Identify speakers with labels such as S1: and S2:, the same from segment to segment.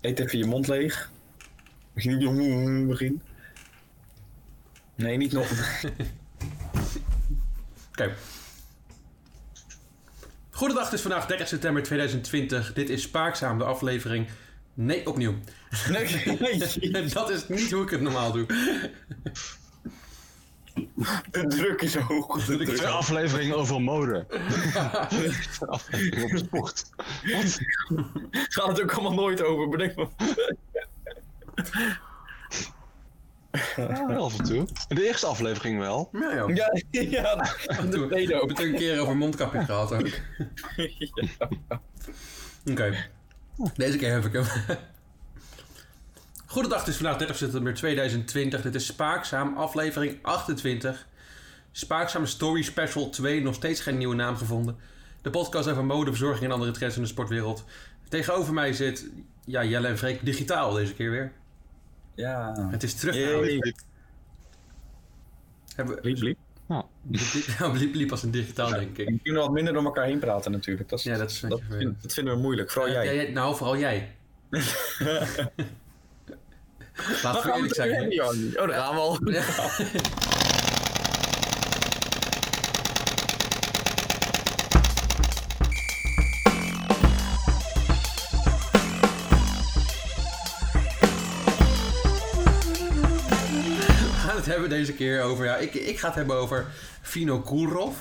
S1: Eet even je mond leeg. Begin. jongen, Begin. Nee, niet nog.
S2: Oké. Goedendag, het is vandaag 30 september 2020. Dit is Spaakzaam, de aflevering... Nee, opnieuw.
S1: Nee, nee.
S2: Dat is niet hoe ik het normaal doe.
S1: De druk is hoog. De
S2: druk is
S1: druk.
S3: Een
S2: Zo.
S3: aflevering over mode. Een aflevering over sport.
S1: Gaat het ook allemaal nooit over, bedenk maar.
S3: Ja, wel af en toe. De eerste aflevering wel.
S2: Ja, joh.
S1: Ja, ja. De
S2: Toen,
S1: tweede
S2: we
S1: ook.
S2: het een keer over mondkapje gehad ook. Oké. Deze keer heb ik hem. Goedendag, het is vandaag 30 september 2020. Dit is Spaakzaam, aflevering 28. Spaakzaam Story Special 2, nog steeds geen nieuwe naam gevonden. De podcast over mode, verzorging en andere trends in de sportwereld. Tegenover mij zit ja, Jelle en Freek digitaal deze keer weer.
S1: Ja.
S2: Het is terug.
S1: Yay. Hey.
S2: Hebben we-
S1: Lief, lief.
S2: Ja, bliep, bliep als een digitaal, denk ik.
S1: We kunnen wat minder door elkaar heen praten natuurlijk. Dat, is-
S2: Ja, dat is-
S1: dat, vind- dat vinden we moeilijk, vooral
S2: Ja,
S1: jij.
S2: jij- nou, vooral jij. Laten we
S1: gaan
S2: eerlijk
S1: het
S2: zijn.
S1: over
S2: hè?
S1: hebben, Jan. Oh, daar gaan we al.
S2: We gaan het hebben deze keer over. Ja, ik, ik ga het hebben over Fino Kourov.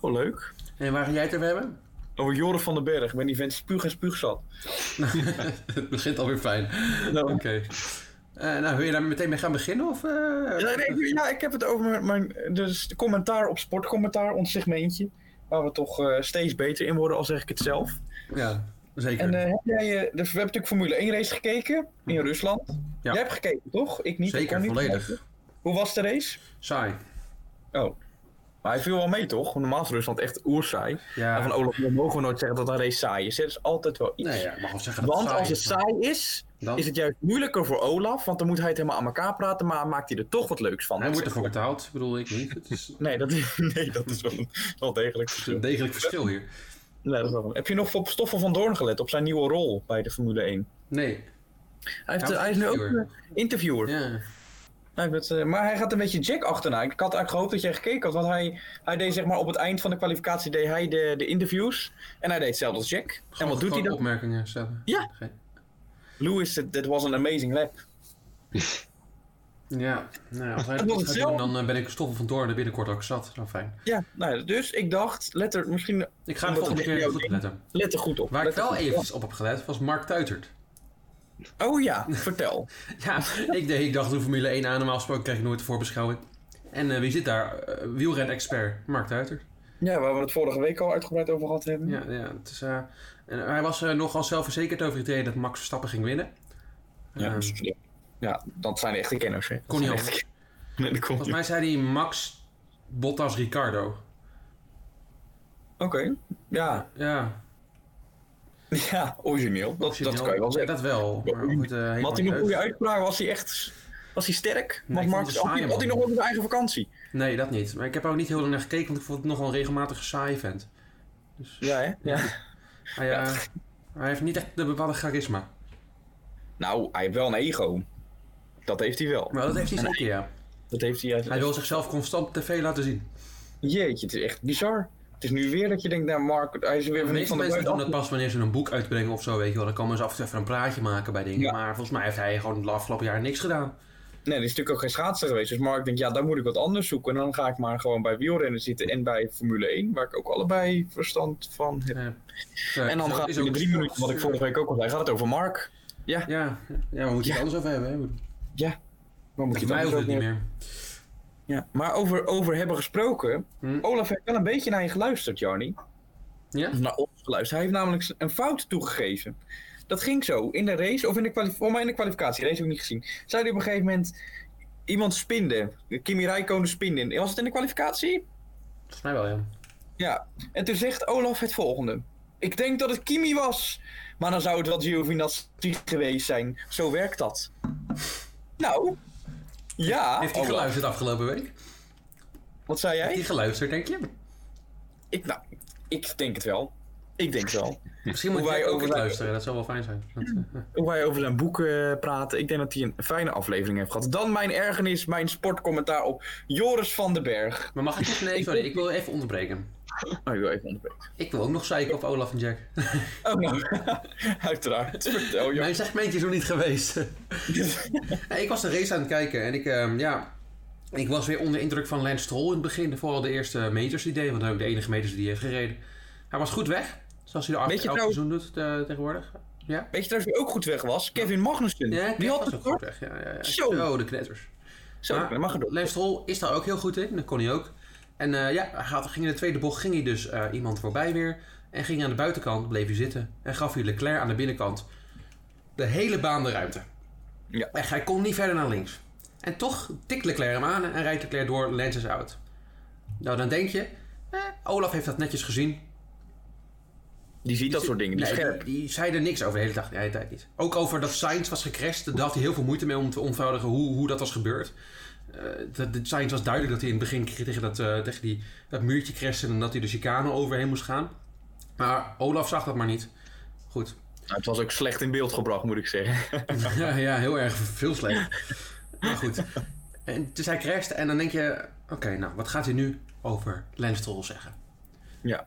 S1: Oh, leuk.
S2: En waar ga jij het over hebben?
S1: Over Joren van den Berg. Ik ben die vent spuug en spuug zat.
S2: het begint alweer fijn. Oké.
S1: Nou,
S2: Eh, nou, wil je daar meteen mee gaan beginnen? Of, eh,
S1: Ja, nee, ik- ja, ik heb het over mijn, mijn dus de commentaar op sportcommentaar, ons segmentje. Waar we toch eh, steeds beter in worden, al zeg ik het zelf.
S2: ja, zeker.
S1: En eh, heb jij, eh, dus we hebben natuurlijk Formule 1 race gekeken in Rusland.
S2: Mhm. Ja.
S1: Jij hebt gekeken, toch? Ik niet. ik
S2: zeker,
S1: kon niet
S2: volledig.
S1: kijken. Hoe was de race?
S2: Saai.
S1: Oh. Maar hij viel wel mee, toch? Normaal is Rusland echt oersaai. En
S2: Ja.
S1: van Olaf, we mogen nooit zeggen dat een race saai is. Er is altijd wel iets.
S2: Nee, ja, ik mag wel zeggen dat
S1: Want
S2: saai
S1: als het
S2: is,
S1: saai is,
S2: dan-
S1: is het juist moeilijker voor Olaf. Want dan moet hij het helemaal aan elkaar praten, maar maakt hij er toch wat leuks van.
S2: Hij
S1: Dat
S2: wordt
S1: is
S2: ervoor betaald, bedoel ik niet. Het is
S1: Nee, dat, nee, dat is wel, wel degelijk verschil.
S2: een degelijk verschil hier.
S1: Nee, dat is wel- Heb je nog op Stoffel van Doorn gelet, op zijn nieuwe rol bij de Formule 1?
S2: Nee.
S1: Hij, heeft,
S2: Ja,
S1: hij is nu ook
S2: interviewer.
S1: eh, interviewer.
S2: Ja.
S1: Hij heeft, eh, maar hij gaat een beetje Jack achterna. Ik had eigenlijk gehoopt dat jij gekeken had, want hij, hij deed zeg maar op het eind van de kwalificatie deed hij de, de interviews. En hij deed hetzelfde als Jack. en wat doet hij
S2: Gewoon
S1: dan?
S2: opmerkingen stellen.
S1: Ja.
S2: Geen-
S1: Lewis, eh, that that was an amazing lap.
S2: Ja, nou, ja, als hij
S1: Dat was
S2: dat niet zou doen,
S1: hetzelfde.
S2: dan eh, ben ik Stoffel van Doorn er binnenkort ook zat. Nou, fijn.
S1: Ja, nou, ja, dus ik dacht, let er misschien,
S2: Ik ga de
S1: Omdat
S2: volgende
S1: het
S2: keer
S1: jou
S2: goed op
S1: ding-
S2: letten.
S1: let er goed op.
S2: Waar ik
S1: Let er
S2: wel
S1: goed op.
S2: eventjes op heb gelet, was Mark Tuitert.
S1: Oh ja, vertel.
S2: Ja, ik, deed- ik dacht, de Formule 1 aan, normaal gesproken krijg ik nooit de voorbeschouwing. En eh, wie zit daar? Eh, wielren-expert Mark Tuitert.
S1: ja, waar we het vorige week al uitgebreid over gehad hebben.
S2: Ja, ja, het is, eh, en hij was er nogal zelfverzekerd over het idee dat Max Verstappen ging winnen.
S1: Ja,
S2: Ehm,
S1: ja. ja dat zijn echte kenners. Hè. Dat
S2: Kon niet
S1: zijn
S2: anders.
S1: echte ken- Nee, dat kon niet.
S2: Volgens mij zei hij Max Bottas Ricardo.
S1: Oké, ja.
S2: Ja,
S1: ja, origineel. Dat, dat kan je wel zeggen.
S2: Dat wel. Maar of het, eh, helemaal
S1: Had hij
S2: niet
S1: nog goede
S2: uit-
S1: uitspraak? Was hij echt was hij sterk?
S2: Nee,
S1: Want
S2: ik vond
S1: Mark-
S2: het een
S1: had, hij,
S2: saaie
S1: had hij
S2: man.
S1: nog wel zijn eigen vakantie?
S2: Nee, dat niet. Maar ik heb er ook niet heel lang naar gekeken, want ik vond het nogal een regelmatig saai vent.
S1: Ja, hè? Ja.
S2: Hij, eh, hij heeft niet echt de bepaalde charisma.
S1: Nou, hij heeft wel een ego. Dat heeft hij wel.
S2: Maar dat heeft hij zeker, ja.
S1: Dat heeft hij
S2: Hij
S1: uit...
S2: wil zichzelf constant op tv laten zien.
S1: Jeetje, het is echt bizar. Het is nu weer dat je denkt, nou Mark, hij is weer
S2: De
S1: van,
S2: meeste
S1: van de
S2: mensen doen
S1: buiten af.
S2: dat pas wanneer ze een boek uitbrengen of zo, weet je wel. Dan komen ze af en toe even een praatje maken bij dingen.
S1: Ja.
S2: Maar volgens mij heeft hij gewoon het afgelopen jaar niks gedaan.
S1: Nee, er is natuurlijk ook geen schaatser geweest. Dus Mark denkt, ja, daar moet ik wat anders zoeken. En dan ga ik maar gewoon bij wielrennen zitten en bij Formule 1, waar ik ook allebei verstand van heb.
S2: Eh, zo-
S1: En dan
S2: zo
S1: gaat
S2: is
S1: het in
S2: ook
S1: drie
S2: sport-
S1: minuten, wat ik vorige week ook al zei, gaat het over Mark.
S2: Ja, ja, we moeten het anders over hebben. Hè?
S1: Waar moet je
S2: Voor mij
S1: anders
S2: hoeft het niet
S1: over-
S2: meer.
S1: Ja, maar over, over hebben gesproken.
S2: Hm.
S1: Olaf heeft wel een beetje naar je geluisterd, Jarny.
S2: Ja?
S1: Of Naar ons geluisterd. Hij heeft namelijk een fout toegegeven. Dat ging zo. In de race, of in de, kwalif- voor mij in de kwalificatie, race heb ik niet gezien. Zei hij op een gegeven moment. Iemand spinde. Kimi Räikkönen spinde. in. Was het in de kwalificatie?
S2: Volgens mij wel, ja.
S1: Ja. En toen zegt Olaf het volgende. Ik denk dat het Kimi was. Maar dan zou het wel Giovinazzi geweest zijn. Zo werkt dat. Nou. Ja.
S2: Heeft hij
S1: Olaf.
S2: geluisterd afgelopen week?
S1: Wat zei jij?
S2: Heeft hij geluisterd, denk je?
S1: Ik, nou, ik denk het wel. Ik denk het wel.
S2: Misschien moet
S1: Hoe wij Hmm.
S2: jij ook eens
S1: over-
S2: luisteren, dat zou wel fijn zijn. Dat, eh,
S1: Hoe wij over zijn boek eh, praten. Ik denk dat hij een fijne aflevering heeft gehad. Dan mijn ergernis, mijn sportcommentaar op Joris van den Berg.
S2: eh, Maar mag ik even... Nee, sorry, ik wil even onderbreken.
S1: Oh, ik wil even onderbreken.
S2: Ik wil ook nog zeiken op Olaf en Jack.
S1: Oh, nou. Uiteraard. Vertel, joh.
S2: Mijn segmentje is nog niet geweest. Ja, ik was de race aan het kijken en ik, ehm, ja, ik was weer onder indruk van Lance Stroll in het begin. Vooral de eerste meters die deed, want hij ook de enige meters die hij heeft gereden. Hij was goed weg, zoals hij de
S1: Weet
S2: acht
S1: je
S2: elk
S1: trouwens-
S2: seizoen doet eh, tegenwoordig. Ja,
S1: Weet je trouwens wie ook goed weg was? Kevin Magnussen.
S2: ja
S1: die had
S2: was
S1: het
S2: ook goed
S1: kort.
S2: weg. Ja, ja, ja.
S1: Zo.
S2: Zo, de knetters.
S1: Zo,
S2: Maar
S1: dat mag het ook.
S2: Lance Stroll is daar ook heel goed in, dat kon hij ook. En eh, ja, hij had- ging in de tweede bocht ging hij dus eh, iemand voorbij weer. En ging aan de buitenkant, bleef hij zitten. En gaf hij Leclerc aan de binnenkant de hele baan de ruimte.
S1: Ja.
S2: Echt, hij kon niet verder naar links. En toch tikt Leclerc hem aan en rijdt Leclerc door, Lens is out. Nou, dan denk je, eh, Olaf heeft dat netjes gezien.
S1: Die ziet dat soort dingen. Die is
S2: Nee,
S1: scherp.
S2: die zei er niks over de hele, dag, de hele tijd niet. Ook over dat Sainz was gecrashed, daar had hij heel veel moeite mee om te ontvoudigen hoe, hoe dat was gebeurd. Eh dat, dat Sainz was duidelijk dat hij in het begin tegen dat, eh, tegen die, dat muurtje crashte en dat hij de chicane overheen moest gaan. Maar Olaf zag dat maar niet. Goed,
S1: Nou, het was ook slecht in beeld gebracht, moet ik zeggen.
S2: ja, ja, heel erg veel slecht. maar goed. En, dus hij crasht en dan denk je... Oké, nou, wat gaat hij nu over Lance Stroll zeggen?
S1: Ja.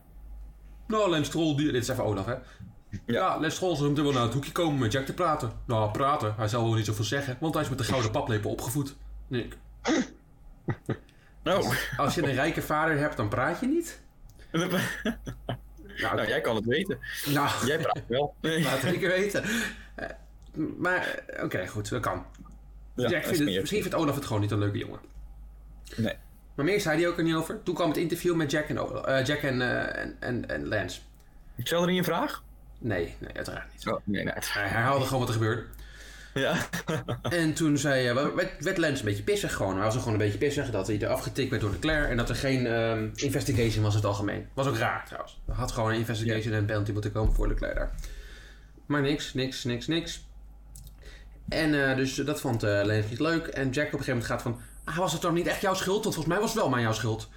S2: Nou, Lance Stroll... Die, dit is even Olaf, hè? Ja, Lance Stroll zou hem wel naar het hoekje komen met Jack te praten. Nou, praten. Hij zou wel niet zoveel zeggen, want hij is met de gouden paplepel opgevoed. En ik,
S1: Nou,
S2: Als je een rijke vader hebt, dan praat je niet? Nou,
S1: nou, jij kan het weten.
S2: nou,
S1: Jij praat wel.
S2: laat het zeker weten. Eh, maar, oké, goed, dat kan.
S1: Ja,
S2: Ja,
S1: dat
S2: ik
S1: is
S2: vind het,
S1: niet
S2: misschien vindt Olaf het gewoon niet een leuke jongen.
S1: echt- Nee.
S2: Maar meer zei hij ook er niet over. Toen kwam het interview met Jack en, Ola- eh, Jack en, eh, en, en, en Lance.
S1: Ik stel er niet een vraag.
S2: Nee, nee, uiteraard niet.
S1: Oh, nee, nee.
S2: Hij herhaalde gewoon wat er gebeurde.
S1: Ja.
S2: En toen zei, eh, werd, werd Lance een beetje pissig gewoon. Hij was ook gewoon een beetje pissig dat hij eraf getikt werd door Leclerc. En dat er geen ehm, investigation was in het algemeen. Was ook raar trouwens. Er had gewoon een investigation en een penalty moeten komen voor Leclerc daar. Maar niks, niks, niks, niks. En eh, dus dat vond eh Lance niet leuk. En Jack op een gegeven moment gaat van... Ah, was het dan niet echt jouw schuld? Want volgens mij was het wel maar jouw schuld.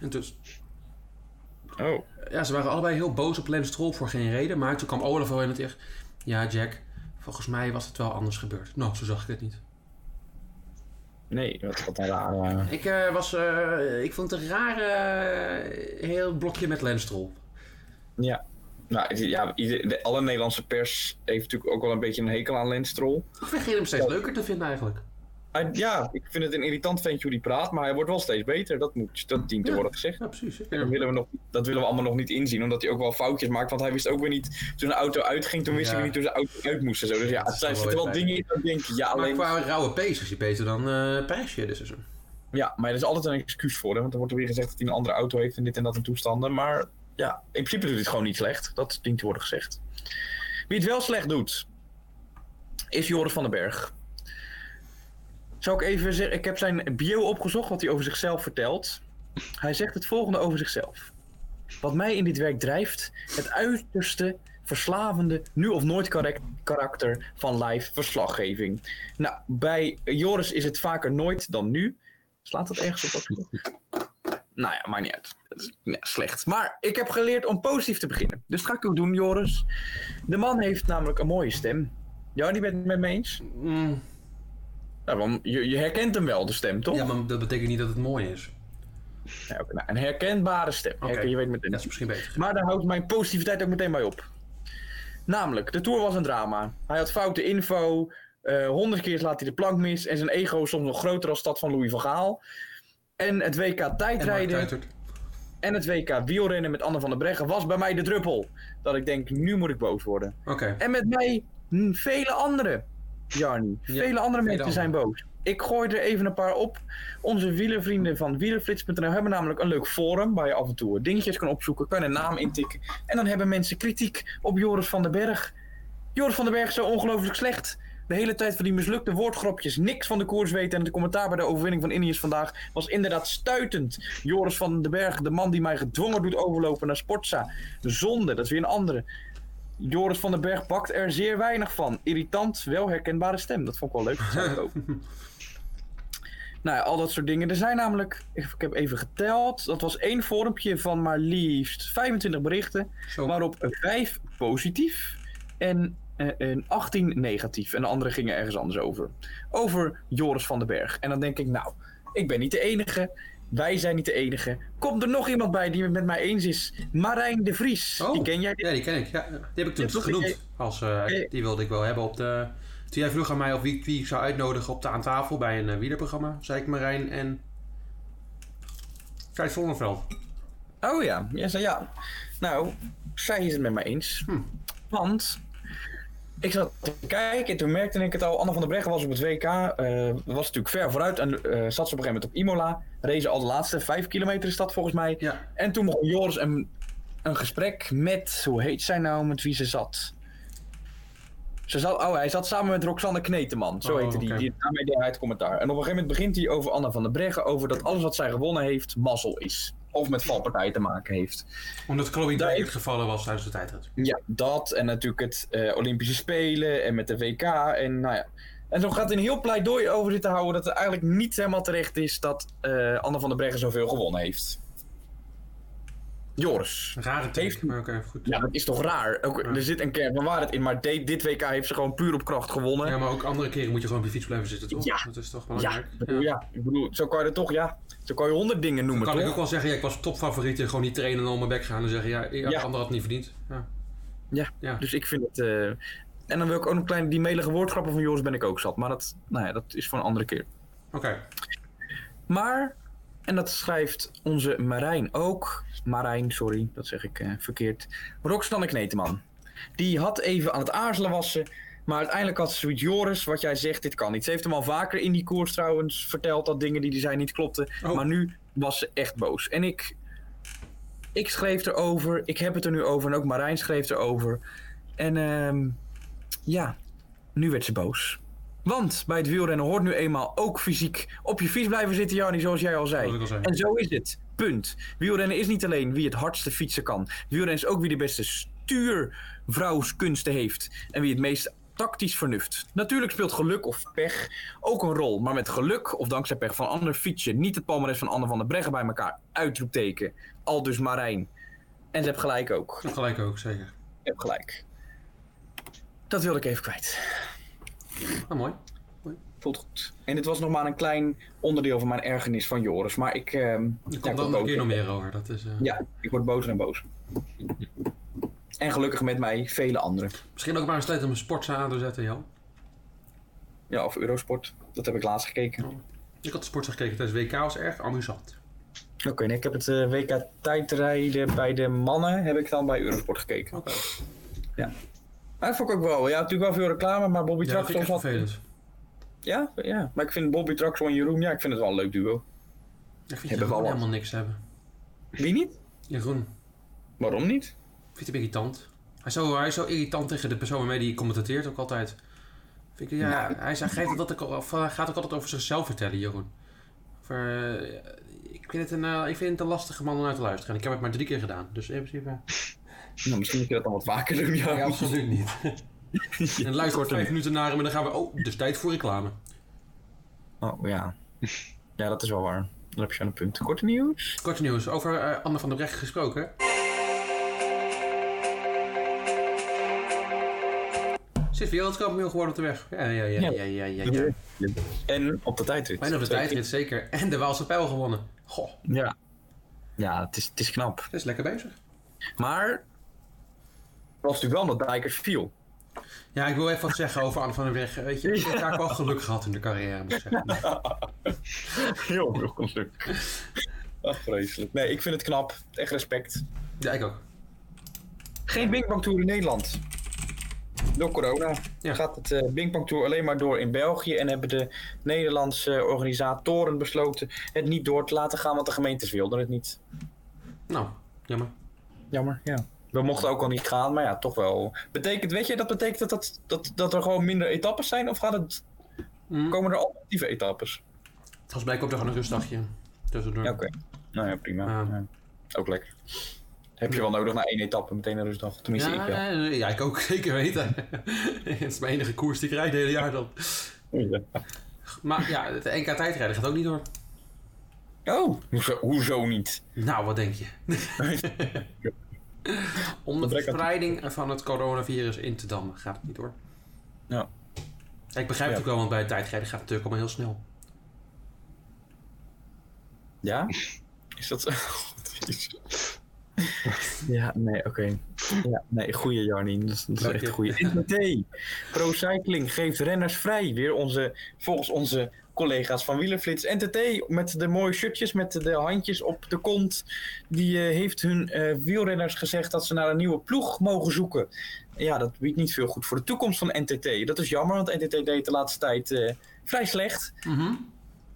S2: En dus,
S1: Oh.
S2: Ja, ze waren allebei heel boos op Lance Stroll voor geen reden. Maar toen kwam Olaf wel in het echt. Ja, Jack, volgens mij was het wel anders gebeurd. Nou, zo zag ik het niet.
S1: Nee, wat, wat een raar. eh.
S2: Ik, eh, was, eh, ik vond het een rare eh, heel blokje met Lance Stroll.
S1: Ja. Nou, ja, ieder- de- alle Nederlandse pers heeft natuurlijk ook wel een beetje een hekel aan Lens Stroll.
S2: Of begin hem steeds leuker te vinden eigenlijk.
S1: Hij- ja, ik vind het een irritant ventje hoe die praat, maar hij wordt wel steeds beter. Dat, moet, dat dient te
S2: Ja.
S1: worden gezegd.
S2: Ja, precies. Ik
S1: Dat
S2: ben-
S1: willen, we nog, dat willen we allemaal nog niet inzien, omdat hij ook wel foutjes maakt. Want hij wist ook weer niet, toen een auto uitging, toen wist
S2: Ja.
S1: hij weer niet hoe zijn auto uit moest en zo. Dus ja,
S2: Dat
S1: er
S2: is wel
S1: zitten wel
S2: weer
S1: dingen in dat ik denk, ja,
S2: Maar
S1: alleen...
S2: qua rauwe pees is hij beter dan eh Prijsje dit seizoen.
S1: Ja, maar er is altijd een excuus voor, hè, want er wordt weer gezegd dat hij een andere auto heeft en dit en dat en toestanden. Maar ja, in principe doet hij het gewoon niet slecht. Dat dient te worden gezegd. Wie het wel slecht doet, is Joris van den Berg. Zou ik even zeggen, ik heb zijn bio opgezocht wat hij over zichzelf vertelt. Hij zegt het volgende over zichzelf. Wat mij in dit werk drijft, het uiterste verslavende, nu of nooit karak- karakter van live verslaggeving. Nou, bij Joris is het vaker nooit dan nu. Slaat dat ergens op? Wat ik doe? Nou ja, maakt niet uit. Dat is nee, slecht. Maar ik heb geleerd om positief te beginnen. Dus dat ga ik ook doen, Joris. De man heeft namelijk een mooie stem. Ja, die bent het met me eens?
S2: Mm,
S1: Nou, want je, je herkent hem wel, de stem, toch?
S2: ja, maar dat betekent niet dat het mooi is.
S1: Ja, oké. Nou, een herkenbare stem.
S2: Oké.
S1: Herken- je weet meteen.
S2: Dat is misschien beter.
S1: Maar daar houdt mijn positiviteit ook meteen bij op. Namelijk, de tour was een drama. Hij had foute info. Eh, Honderd keer slaat hij de plank mis. En zijn ego is soms nog groter dan dat van Louis van Gaal. En het WK
S2: En Mark
S1: tijdrijden.
S2: Tuitert.
S1: en het WK wielrennen met Anne van der Breggen was bij mij de druppel. Dat ik denk, nu moet ik boos worden.
S2: Oké.
S1: En met mij hm, vele anderen, Jarni.
S2: Ja,
S1: Vele andere
S2: vele
S1: mensen zijn boos. Ik gooi er even een paar op. Onze wielervrienden van wielerflits.nl hebben namelijk een leuk forum waar je af en toe dingetjes kan opzoeken, kan een naam intikken. En dan hebben mensen kritiek op Joris van den Berg. Joris van den Berg is zo ongelooflijk slecht. De hele tijd van die mislukte woordgropjes, niks van de koers weten. En de commentaar bij de overwinning van Ineos vandaag was inderdaad stuitend. Joris van den Berg, de man die mij gedwongen doet overlopen naar Sportza. Zonde, dat is weer een andere. Joris van den Berg bakt er zeer weinig van. Irritant, wel herkenbare stem. Dat vond ik wel leuk. Dat zei ik ook. Nou ja, al dat soort dingen. Er zijn namelijk, ik ik heb even geteld, dat was één vormpje van maar liefst 25 berichten,
S2: Zo.
S1: waarop 5 positief en eh, een 18 negatief. En de andere gingen ergens anders over. Over Joris van den Berg. En dan denk ik, nou, ik ben niet de enige. Wij zijn niet de enige. Komt er nog iemand bij die het met mij eens is? Marijn de Vries.
S2: Oh.
S1: Die ken jij?
S2: Ja, die ken ik. Ja, die heb ik toen
S1: Ja, toch?
S2: genoemd.
S1: Ik-
S2: Als, eh,
S1: ik-
S2: die wilde ik wel hebben op de... Toen jij vroeg aan mij of wie, wie ik zou uitnodigen op de aan tafel bij een eh, wielerprogramma, zei ik Marijn en... Gijs Zonneveld.
S1: Oh ja, ja, zei ja. Nou, zij is het met mij eens.
S2: Hm.
S1: Want ik zat te kijken en toen merkte ik het al. Anne van der Breggen was op het WK. eh, was natuurlijk ver vooruit en eh, zat ze op een gegeven moment op Imola. Race al de laatste vijf kilometer is dat volgens mij.
S2: Ja,
S1: En toen begon Joris een, een gesprek met, hoe heet zij nou, met wie ze zat. Ze zat, oh, hij zat samen met Roxanne Kneteman, zo
S2: Oh,
S1: heette die.
S2: oké.
S1: die daarmee deed hij het commentaar. En op een gegeven moment begint hij over Anna van der Breggen, over dat alles wat zij gewonnen heeft, mazzel is. Of met valpartijen te maken heeft.
S2: omdat Chloe
S1: Daar
S2: Dijkert
S1: is-
S2: gevallen was tijdens de tijdrit.
S1: Ja, dat en natuurlijk het eh, Olympische Spelen en met de WK en nou ja. En zo gaat hij een heel pleidooi over dit te houden dat het eigenlijk niet helemaal terecht is dat eh Anne van der Breggen zoveel gewonnen heeft. Joris.
S2: Een rare
S1: Heeft-
S2: take, maar oké, goed.
S1: Ja, dat is toch raar? Ook,
S2: Ja.
S1: Er zit een kern van waarheid in, maar de- dit WK heeft ze gewoon puur op kracht gewonnen.
S2: Ja,
S1: Ja,
S2: maar ook andere keren moet je gewoon op je fiets blijven zitten, toch?
S1: Ja.
S2: Dat is toch belangrijk.
S1: ik bedoel, ja, ik bedoel, zo kan je er toch, ja. Zo kan je honderd dingen noemen,
S2: Kan ik ook
S1: toch?
S2: wel zeggen, ja, ik was topfavoriet en gewoon niet trainen en al mijn bek gaan en zeggen, ja, ik,
S1: Ja.
S2: ander had het niet verdiend. Ja.
S1: Ja.
S2: ja.
S1: Dus ik vind het... eh, En dan wil ik ook nog kleine, die melige woordgrappen van Joris ben ik ook zat. Maar dat, nou ja, dat is voor een andere keer.
S2: Oké,
S1: Maar, en dat schrijft onze Marijn ook. Marijn, sorry, dat zeg ik eh, verkeerd. Roxanne Kneteman. Die had even aan het aarzelen was ze. Maar uiteindelijk had ze zoiets, Joris, wat jij zegt, dit kan niet. Ze heeft hem al vaker in die koers trouwens verteld dat dingen die hij zei niet klopten.
S2: Oh.
S1: Maar nu was ze echt boos. En ik, ik schreef erover, ik heb het er nu over en ook Marijn schreef erover. En ehm, ja, nu werd ze boos. Want bij het wielrennen hoort nu eenmaal ook fysiek op je fiets blijven zitten, Jarni, zoals jij al
S2: dat
S1: zei.
S2: ik al zei.
S1: En zo is het. Punt. Wielrennen is niet alleen wie het hardste fietsen kan. Wielrennen is ook wie de beste stuurvrouwskunsten heeft. En wie het meest tactisch vernuft. Natuurlijk speelt geluk of pech ook een rol. Maar met geluk of dankzij pech van ander fiets je niet het palmarès van Anne van der Breggen bij elkaar. Uitroepteken. Al dus Marijn. En ze hebt gelijk ook.
S2: Dat gelijk ook, zeker.
S1: Je hebt gelijk. Dat wilde ik even kwijt.
S2: Nou, mooi.
S1: Voelt goed. En dit was nog maar een klein onderdeel van mijn ergernis van Joris. Maar ik... ehm, ja,
S2: Er
S1: ik
S2: komt
S1: word
S2: dan nog
S1: boos.
S2: een keer nog meer over. Dat is, eh,
S1: Ja, ik word boos en boos. En gelukkig met mij vele anderen.
S2: Misschien ook maar een tijd om een sportzaal aan te zetten, Jan.
S1: Ja, of Eurosport. Dat heb ik laatst gekeken.
S2: Ik had de sportzaal gekeken tijdens WK, was erg amusant.
S1: Oké, nee, ik heb het eh, WK tijdrijden bij de mannen heb ik dan bij Eurosport gekeken.
S2: Oké.
S1: Maar dat vond ik ook wel. Ja, natuurlijk wel veel reclame, maar Bobby
S2: Ja, dat vind ik
S1: Traxel
S2: echt
S1: had...
S2: vervelend.
S1: Ja, ja, maar ik vind Bobby Traxel en Jeroen, ja, ik vind het wel een leuk duo.
S2: Ik vind
S1: Hebben we
S2: Jeroen
S1: al
S2: helemaal niks hebben.
S1: Wie niet?
S2: Jeroen,
S1: Waarom niet?
S2: ik vind hem irritant. Hij is, zo, hij is zo irritant tegen de persoon waarmee hij commentateert ook altijd. Vind ik, ja,
S1: Nou.
S2: hij, is, hij geeft dat ook, al- of hij gaat ook altijd over zichzelf vertellen, Jeroen. Over, eh, ik, vind het een, eh, ik vind het een lastige man om naar te luisteren. En ik heb het maar drie keer gedaan. Dus in principe...
S1: Nou, misschien moet je dat dan wat vaker doen, ja.
S2: Ja, absoluut niet. en luister
S1: Korte
S2: vijf
S1: niet.
S2: minuten naar hem en dan gaan we... Oh, dus tijd voor reclame.
S1: Oh, ja. Ja, dat is wel waar. Dan heb je aan een punt. Korte nieuws?
S2: Korte nieuws. Over eh, Anne van der Brecht gesproken. Zit wereldkampioen geworden op de weg. Ja, ja, ja, ja, ja, ja. ja.
S1: En op de tijdrit.
S2: Bijna op de tijdrit zeker. En de Waalse pijl gewonnen. Goh,
S1: Ja. Ja, het is, het is knap.
S2: dat is lekker bezig.
S1: Maar het was natuurlijk wel omdat Dijkers viel.
S2: Ja, ik wil even wat zeggen over Anne van der Brecht. Weet je, ik heb vaak wel geluk gehad in de carrière, moet ik zeggen.
S1: Heel veel geluk. Ach, vreselijk. Nee, ik vind het knap. Echt respect.
S2: Ja, ik ook.
S1: Geen Bingbank Tour in Nederland. Door corona
S2: Ja.
S1: gaat het eh Bingbank Tour alleen maar door in België. En hebben de Nederlandse organisatoren besloten het niet door te laten gaan, want de gemeentes wilden het niet.
S2: Nou, jammer.
S1: Jammer, ja. We mochten ook al niet gaan, maar ja, toch wel. Betekent, weet je, dat betekent dat, dat, dat, dat er gewoon minder etappes zijn? Of gaat het,
S2: Hm.
S1: komen er alternatieve etappes?
S2: Volgens mij komt er gewoon een rustdagje tussendoor.
S1: Ja, oké. Nou ja, prima.
S2: Ja.
S1: Ja. Ook lekker. Heb je wel nodig na één etappe, meteen een rustdag. Tenminste,
S2: Ja,
S1: ik wel.
S2: eh, ja, ik ook zeker weten. het is mijn enige koers die ik rijd het hele jaar dan.
S1: Ja.
S2: Maar ja, het NK tijdrijden gaat ook niet door.
S1: Oh, hoezo, hoezo niet?
S2: Nou, wat denk je? Om
S1: Gebrek
S2: de
S1: aan-
S2: verspreiding van het coronavirus in te dammen gaat het niet door.
S1: Ja.
S2: Ik begrijp
S1: Ja.
S2: het ook wel, want bij het tijdrijden gaat het natuurlijk allemaal heel snel.
S1: Ja? Is dat zo? ja, nee, oké. Ja, nee, goeie Jarnien. Dat is, dat is
S2: Dank
S1: echt
S2: je.
S1: een goeie. NPT, Pro Cycling geeft renners vrij. Weer onze, volgens onze collega's van Wielerflits. NTT met de mooie shirtjes, met de handjes op de kont. Die eh, heeft hun eh, wielrenners gezegd dat ze naar een nieuwe ploeg mogen zoeken. Ja, dat biedt niet veel goed voor de toekomst van NTT. Dat is jammer, want NTT deed de laatste tijd eh, vrij slecht.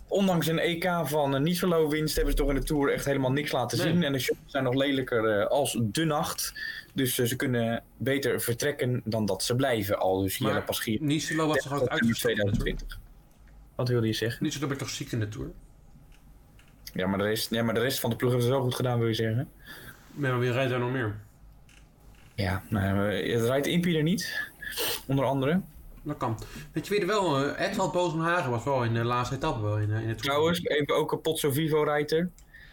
S1: Ondanks een EK van uh, niet zo low winst hebben ze toch in de Tour echt helemaal niks laten
S2: Nee.
S1: zien. En de shots zijn nog lelijker eh, als de nacht. Dus eh, ze kunnen beter vertrekken dan dat ze blijven. Al dus
S2: Maar-
S1: Jelle Paschier.
S2: Nietzsche was toch ook uitgestopt?
S1: 2020. Wat wilde je zeggen?
S2: Nietzsche dat ben toch ziek in de Tour?
S1: Ja maar, de rest, ja, maar de rest van de ploeg hebben het wel goed gedaan, wil je zeggen?
S2: Nee, maar wie rijdt daar nog meer?
S1: Ja, nou, eh, het rijdt Impi er niet. Onder andere.
S2: Dat kan. Weet je wie er wel... eh, Edwald Bozenhagen was wel in de laatste etappe wel in, eh, in de Tour.
S1: Trouwens, even ook een Potso Vivo rijder.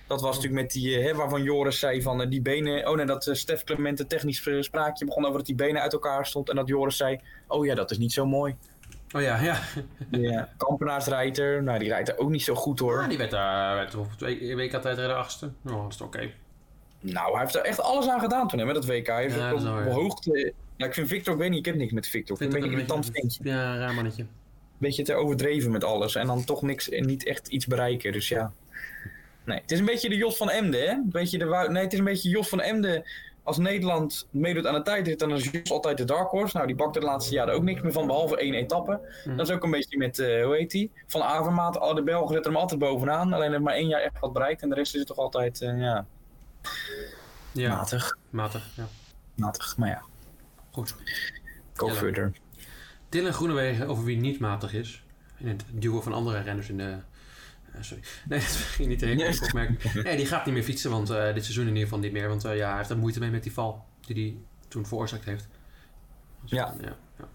S1: Dat
S2: Oh.
S1: was natuurlijk met die, eh, hè, waarvan Joris zei van eh, die benen. Oh nee, dat eh, Stef Clement een technisch eh, spraakje begon over dat die benen uit elkaar stond. En dat Joris zei: Oh ja, dat is niet zo mooi.
S2: Oh ja, ja.
S1: Ja. Kampenaarsrijder, nou die rijdt er ook niet zo goed hoor.
S2: Ah, die werd daar werd op twee WK tijdrijden achtste. Nou, dat is toch oké.
S1: Nou, hij heeft er echt alles aan gedaan toen hè, met dat WK. Hij heeft
S2: Ja,
S1: ook
S2: dat is
S1: op
S2: wel, ja.
S1: op hoogte. Ja, ik vind Victor, ik weet niet, ik heb niks met Victor. Ik vind
S2: het
S1: hem een beetje irritant ventje.
S2: Ja, raar mannetje.
S1: Een beetje te overdreven met alles. En dan toch niks, en niet echt iets bereiken. Dus ja. Nee, het is een beetje de Jos van Emden, hè? Een beetje de, Wou- nee, het is een beetje Jos van Emden. Als Nederland meedoet aan de tijdrit, dan is Jos altijd de dark horse. Nou, die bakt er de laatste jaren ook niks meer van, behalve één etappe.
S2: Mhm.
S1: Dat is ook een beetje met, eh, hoe heet die? Van Avermaat, al de Belgen zetten hem altijd bovenaan. Alleen heeft maar één jaar echt wat bereikt. En de rest is het toch altijd, eh, ja,
S2: Ja,
S1: matig.
S2: matig. Ja.
S1: Matig, maar ja,
S2: Goed.
S1: go
S2: Ja.
S1: further.
S2: Dylan Groenewegen over wie niet matig is. In het duo van andere renners in de... eh, sorry. Nee, dat ging niet heel
S1: Nee.
S2: erg opmerken. Nee, die gaat niet meer fietsen, want eh, dit seizoen in ieder geval niet meer. Want eh, ja, hij heeft er moeite mee met die val die hij toen veroorzaakt heeft. Dus,
S1: Ja.
S2: ja. ja.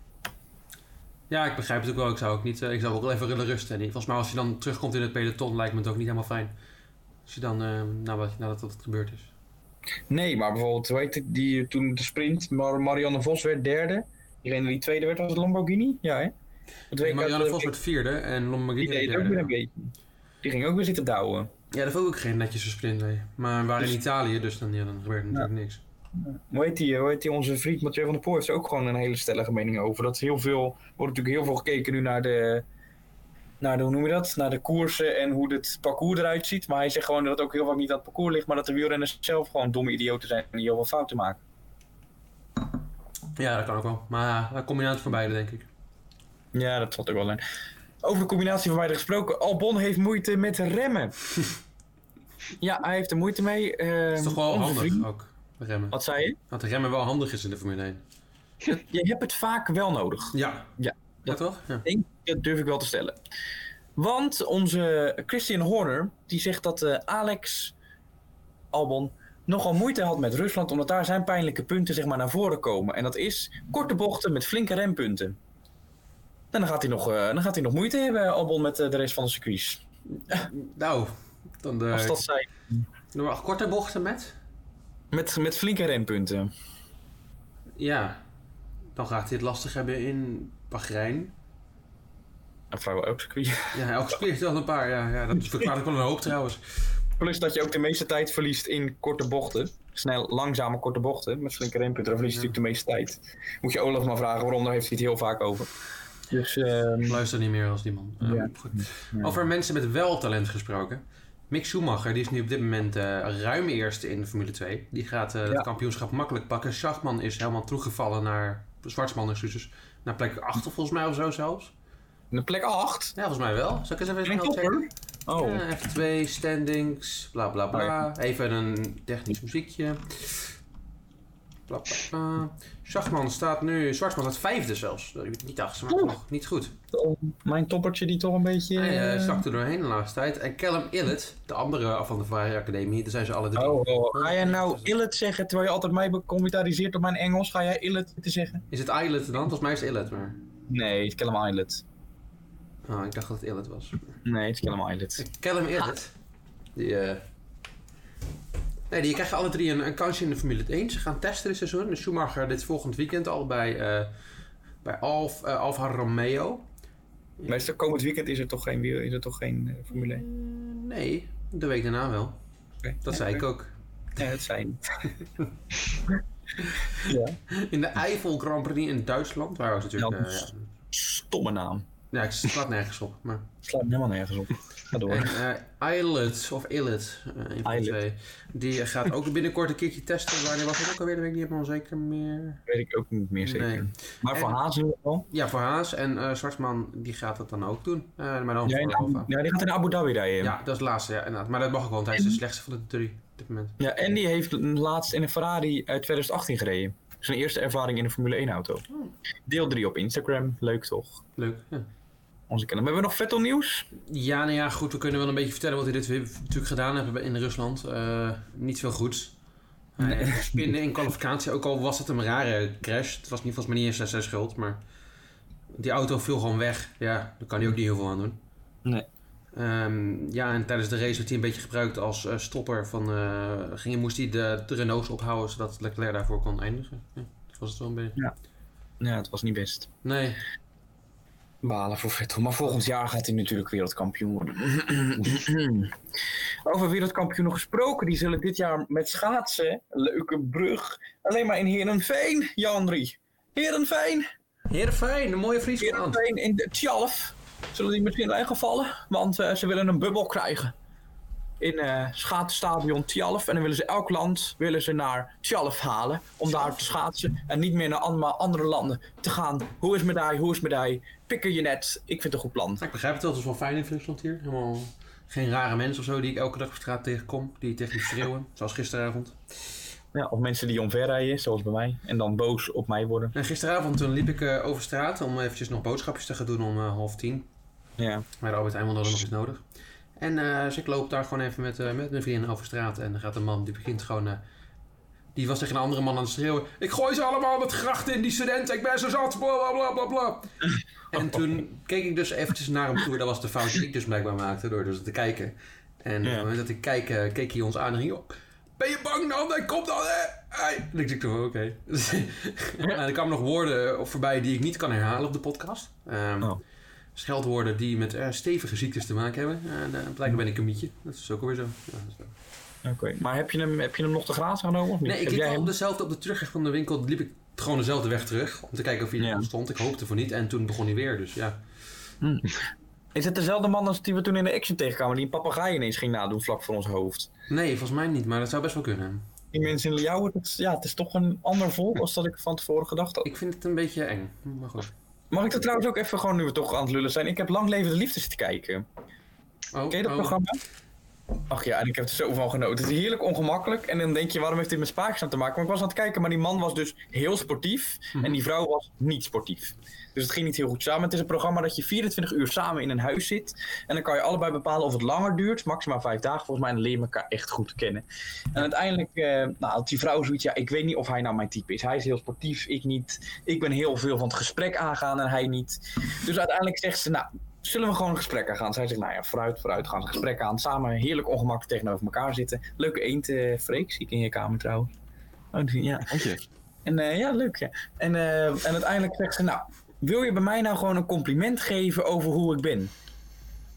S2: Ja, ik begrijp het ook wel. Ik zou ook, niet, eh, ik zou ook wel even willen rusten. En volgens mij als je dan terugkomt in het peloton lijkt me het ook niet helemaal fijn. Als je dan, eh, nadat, nadat dat gebeurd is.
S1: Nee, maar bijvoorbeeld, hoe heet het, die, toen de sprint, Mar- Marianne Vos werd derde. Diegene die tweede werd, was het Lamborghini? Ja, hè? Dat weet ik uit
S2: Marianne
S1: de-
S2: Vos werd vierde en
S1: Die
S2: Lombardini
S1: deed het ook weer een
S2: derde.
S1: beetje. Die ging ook weer zitten douwen.
S2: Ja, dat vond ik ook geen netjes sprint mee. Maar we waren in Italië, dus dan, ja, dan gebeurt er natuurlijk niks.
S1: Hoe heet die, hoe heet die onze vriend Mathieu van der Poel heeft er ook gewoon een hele stellige mening over. Dat heel veel, er wordt natuurlijk heel veel gekeken nu naar de, naar de, hoe noem je dat? Naar de koersen en hoe het parcours eruit ziet. Maar hij zegt gewoon dat het ook heel vaak niet aan het parcours ligt, maar dat de wielrenners zelf gewoon domme idioten zijn en die heel veel fouten maken.
S2: Ja, dat kan ook wel. Maar daar kom je aan het voorbij, denk ik.
S1: Ja, dat zat ook wel in. Over de combinatie van beide gesproken. Albon heeft moeite met remmen. ja, hij heeft er moeite mee. ehm,
S2: Het is toch wel
S1: onze
S2: handig
S1: vriend-
S2: ook, remmen.
S1: Wat zei je?
S2: Dat de remmen wel handig is in de Formule 1.
S1: Je hebt het vaak wel nodig.
S2: Ja.
S1: Ja.
S2: Ja, toch? Ja.
S1: denk, dat durf ik wel te stellen. Want onze Christian Horner, die zegt dat eh, Alex Albon nogal moeite had met Rusland, omdat daar zijn pijnlijke punten zeg maar, naar voren komen. En dat is korte bochten met flinke rempunten. En dan gaat hij nog, eh, dan gaat hij nog moeite hebben, Albon, met eh, de rest van de circuits.
S2: Nou, dan de...
S1: Als dat zijn
S2: Nou, wacht, korte bochten met?
S1: met, met flinke rempunten.
S2: Ja. Dan gaat hij het lastig hebben in Bahrein.
S1: En vrijwel elk circuit.
S2: Ja, elke spier heeft wel een paar. Ja, ja dat verklaart ik wel een hoop trouwens.
S1: Plus dat je ook de meeste tijd verliest in korte bochten. Snel, langzame korte bochten. Met flinke rempunten. Dan verlies je natuurlijk de meeste tijd. Moet je Olaf maar vragen waarom, daar heeft hij het heel vaak over. Dus, ehm,
S2: Ik luister niet meer als die man. Eh,
S1: Ja.
S2: goed. Over mensen met wel talent gesproken. Mick Schumacher, die is nu op dit moment eh, ruim eerste in de Formule 2. Die gaat eh,
S1: Ja.
S2: het kampioenschap makkelijk pakken. Schachman is helemaal teruggevallen naar... Zwartsman, excuses. Naar plek 8 volgens mij of zo zelfs.
S1: de plek 8.
S2: Ja, volgens mij wel. Zal ik eens even
S1: Geen
S2: snel checken?
S1: topper. Oh,
S2: Ja, even twee standings, bla bla bla.
S1: Oh, ja.
S2: Even een technisch muziekje. Bla bla bla. Schachman staat nu... Zwartsman staat vijfde zelfs. Niet achtste, maar
S1: Oeh.
S2: nog niet goed.
S1: oh, mijn toppertje die toch een beetje...
S2: Hij eh,
S1: eh,
S2: zakte doorheen de laatste tijd. En Callum Illet, de andere eh, van de Vrije Academie, daar zijn ze alle drie.
S1: Oh, oh, ga jij nou Illet zeggen terwijl je altijd mij becommentariseert op mijn Engels? Ga jij Illet te zeggen?
S2: Is het Islet dan? Volgens mij is het Illet, maar...
S1: Nee, ik ken hem Islet.
S2: Oh, ik dacht dat het Illet was. Eh,
S1: Nee, het is helemaal eyelid.
S2: Callum Illet. Die, eh, Nee, die krijgen alle drie een, een kansje in de Formule 1. Ze gaan testen dit seizoen. De Schumacher dit volgend weekend al bij, eh bij Alf, eh, Alfa Romeo.
S1: Maar is er, komend weekend is er toch geen, wiel- is er toch geen eh, Formule 1?
S2: Nee, de week daarna wel.
S1: Oké.
S2: Dat
S1: Ja,
S2: zei ik
S1: oké.
S2: ook.
S1: Ja, dat zijn.
S2: In de Eifel Grand Prix in Duitsland. Waar was natuurlijk...
S1: Ja, dus-
S2: eh, ja,
S1: Stomme naam.
S2: ja, ik slaat nergens op. Maar...
S1: Slaat helemaal nergens op. Ga door.
S2: En eh Islet, of Illet, eh, een van de
S1: Islet.
S2: twee. Die eh, gaat ook binnenkort een keertje testen. Wanneer was het ook alweer? Dat weet ik niet helemaal zeker meer.
S1: weet ik ook niet meer zeker.
S2: Nee.
S1: Maar voor
S2: En-
S1: Hazen wel.
S2: Ja, voor Haas. En eh Zwartman, die gaat dat dan ook doen. Eh, maar dan
S1: Ja,
S2: voor
S1: in
S2: Alfa.
S1: Abu- ja, die gaat in Abu Dhabi rijden.
S2: Ja, dat is het laatste, ja, inderdaad. Maar dat mag ook wel, want hij is de slechtste van de drie op dit moment.
S1: Ja, en die heeft laatst in een Ferrari uit 2018 gereden. Zijn eerste ervaring in een Formule 1 auto.
S2: Oh.
S1: Deel 3 op Instagram. Leuk toch?
S2: Leuk, ja.
S1: Onze kennis. Maar hebben we nog Vettel nieuws?
S2: Ja, nou ja, goed. We kunnen wel een beetje vertellen wat hij dit weer natuurlijk gedaan heeft in Rusland. Eh, niet veel goeds. Hij spinde in kwalificatie, ook al was het een rare crash. Het was niet volgens mij niet eens zijn schuld, maar die auto viel gewoon weg. Ja, daar kan hij ook niet heel veel aan doen.
S1: Nee.
S2: Ehm, ja, en tijdens de race werd hij een beetje gebruikt als eh, stopper. Van, eh, ging, moest hij de, de Renaults ophouden, zodat Leclerc daarvoor kon eindigen. Ja, dat was het wel een beetje.
S1: Ja, het was niet best.
S2: Nee,
S1: Balen voor Vettel. Maar volgend jaar gaat hij natuurlijk wereldkampioen worden. Over wereldkampioenen gesproken. Die zullen dit jaar met schaatsen, leuke brug, alleen maar in Herenveen, Janri. Herenveen,
S2: Heerenveen, een mooie Friesland.
S1: Herenveen in de Tjalf. Zullen die misschien ingevallen? Want eh, ze willen een bubbel krijgen. In eh schaatsstadion Tjalf. En dan willen ze elk land willen ze naar Tjalf halen. Om daar te schaatsen. En niet meer naar allemaal andere landen te gaan. Hoe is medaille? Hoe is medaille? Pikken je net. Ik vind het een goed plan.
S2: Ja, ik begrijp het wel, het is wel fijn in Friesland hier. Helemaal geen rare mensen of zo die ik elke dag op straat tegenkom, die tegen me schreeuwen, zoals gisteravond.
S1: Ja, of mensen die omverrijden, zoals bij mij, en dan boos op mij worden.
S2: En gisteravond toen liep ik eh, over straat om eventjes nog boodschapjes te gaan doen om eh, half tien.
S1: Ja.
S2: Maar de Albert Heijn had nog iets nodig. En eh, dus ik loop daar gewoon even met, eh, met mijn vriendin over straat en dan gaat een man, die begint gewoon... eh, die was tegen een andere man aan het schreeuwen. Ik gooi ze allemaal met grachten in die studenten. Ik ben zo zat. Bla bla bla bla bla. En toen keek ik dus eventjes naar hem toe. Dat was de fout die ik dus blijkbaar maakte door dus te kijken. En op het
S1: Ja.
S2: moment dat ik kijk, eh, keek hij ons aan en ging... "Oh, Ben je bang dan? Nee, Kom dan! Hè? Hey." En ik dacht, oh, oké. En er kwamen nog woorden op voorbij die ik niet kan herhalen op de podcast. Ehm,
S1: Oh.
S2: Scheldwoorden die met eh, stevige ziektes te maken hebben. En eh, blijkbaar ben ik een mietje. Dat is ook alweer zo. Ja, dat is wel-
S1: Oké. Maar heb je, hem, heb je hem nog te grazen genomen of niet?
S2: Nee, ik
S1: heb
S2: liep
S1: jij
S2: wel
S1: hem...
S2: op dezelfde, op de terugweg van de winkel, liep ik gewoon dezelfde weg terug. Om te kijken of hij er
S1: Ja.
S2: nog stond. Ik hoopte voor niet. En toen begon hij weer, dus ja.
S1: Is het dezelfde man als die we toen in de action tegenkwamen, die een papegaai ineens ging nadoen vlak voor ons hoofd?
S2: Nee, volgens mij niet, maar dat zou best wel kunnen.
S1: Die mensen in Ljouwen, dat is- ja, het is toch een ander volk als dat ik van tevoren gedacht had.
S2: Ik vind het een beetje eng. Maar goed.
S1: Mag ik er trouwens ook even gewoon, nu we toch aan het lullen zijn, ik heb Lang Leven de Liefde zitten kijken.
S2: Oh,
S1: Ken je dat
S2: oh.
S1: programma? Ach ja, en ik heb er zo van genoten. Het is heerlijk ongemakkelijk. En dan denk je, waarom heeft dit met Spaakzaam te maken? Maar ik was aan het kijken, maar die man was dus heel sportief. En die vrouw was niet sportief. Dus het ging niet heel goed samen. Het is een programma dat je 24 uur samen in een huis zit. En dan kan je allebei bepalen of het langer duurt. Maximaal vijf dagen volgens mij. En dan leer je elkaar echt goed kennen. En uiteindelijk eh nou, had die vrouw zoiets. Ja, ik weet niet of hij nou mijn type is. Hij is heel sportief, ik niet. Ik ben heel veel van het gesprek aangaan en hij niet. Dus uiteindelijk zegt ze, nou, zullen we gewoon een gesprek aangaan? Zij zegt, nou ja, vooruit, vooruit, gaan we een gesprek aan. Samen heerlijk ongemakkelijk tegenover elkaar zitten. Leuke eend, eh Freek, zie ik in je kamer trouwens. Oh, die- ja.
S3: Dank je.
S1: En eh, ja, leuk. Ja. En, eh, en uiteindelijk zegt ze, nou, wil je bij mij nou gewoon een compliment geven over hoe ik ben?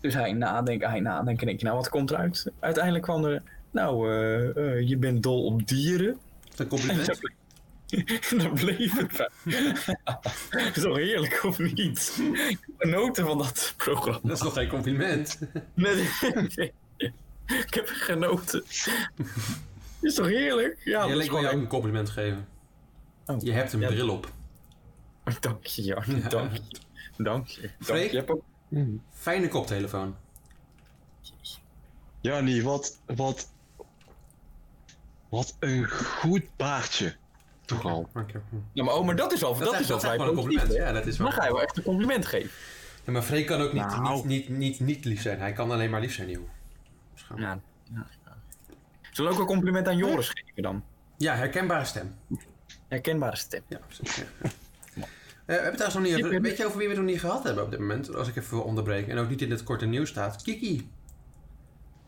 S1: Dus hij nadenkt, hij nadenkt en denk je, nou, wat komt eruit? Uiteindelijk kwam er, nou, eh, eh, je bent dol op dieren.
S2: Dat is een compliment.
S1: Dan bleef het bij. Dat is toch heerlijk, of niet? Genoten van dat programma.
S2: Dat is nog geen compliment.
S1: Nee, nee. Ik heb er genoten. Is toch heerlijk? Ja,
S2: Jij
S1: dat is
S2: leek wil jou ook
S1: gewoon...
S2: een compliment geven.
S1: Oh.
S2: Je hebt een
S1: Ja.
S2: bril op.
S1: Dank je, Jan. Dank je. Dank je. Dank je.
S2: Freek?
S1: Je hebt ook-
S2: Fijne koptelefoon.
S3: Jannie, wat, wat, wat een goed baardje. Toch al.
S2: Dank je. Hm.
S1: Ja, maar, oh, maar dat is al, dat
S2: is-
S1: is al
S2: dat is
S1: vrij
S2: gewoon een
S1: positief.
S2: compliment. Ja, dat is
S1: Dan
S2: wel.
S1: ga je wel echt een compliment geven.
S2: Ja, maar Freek kan ook niet,
S1: Nou.
S2: niet, niet, niet, niet lief zijn. Hij kan alleen maar lief zijn, joh. Schaam.
S1: Ja. ja. Zullen we ook een compliment aan Joris geven dan?
S2: Ja, herkenbare stem.
S1: Herkenbare stem.
S2: Ja, precies. ja. we hebben het trouwens nog niet over-
S1: Kiki.
S2: Weet je over wie we het nog niet gehad hebben op dit moment? Als ik even wil onderbreken. En ook niet in het korte nieuws staat. Kiki.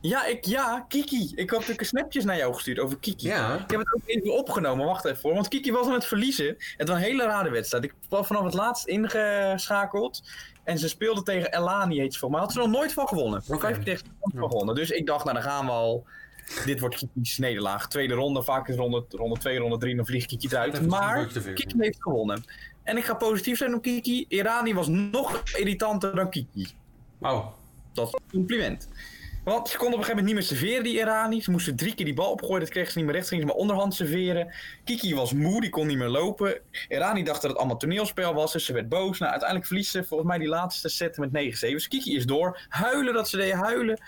S1: Ja, ik, ja, Kiki. Ik had natuurlijk snapjes naar jou gestuurd over Kiki.
S2: Ja.
S1: Ik heb het ook even opgenomen, wacht even hoor. Want Kiki was aan het verliezen. Het was een hele rare wedstrijd. Ik was vanaf het laatst ingeschakeld. En ze speelde tegen Elani, heet ze volgens mij. Had ze nog nooit van gewonnen.
S2: Oké.
S1: Vijf keer tegen ze nooit van gewonnen. Dus ik dacht, nou dan gaan we al. Dit wordt Kiki's nederlaag. Tweede ronde, vaak is ronde, ronde twee, ronde drie. Dan vliegt Kiki
S2: Even
S1: eruit.
S2: een
S1: Maar
S2: woordje te veel.
S1: Kiki heeft gewonnen. En ik ga positief zijn op Kiki. Irani was nog irritanter dan Kiki.
S2: Wauw.
S1: Dat is een compliment. Want ze konden op een gegeven moment niet meer serveren, die Irani. Ze moesten drie keer die bal opgooien, dat kregen ze niet meer recht. Gingen ze maar onderhand serveren. Kiki was moe, die kon niet meer lopen. Irani dacht dat het allemaal toneelspel was, dus ze werd boos. Nou, uiteindelijk verliezen ze volgens mij die laatste set met 9-7. Dus Kiki is door. Huilen dat ze deed, huilen.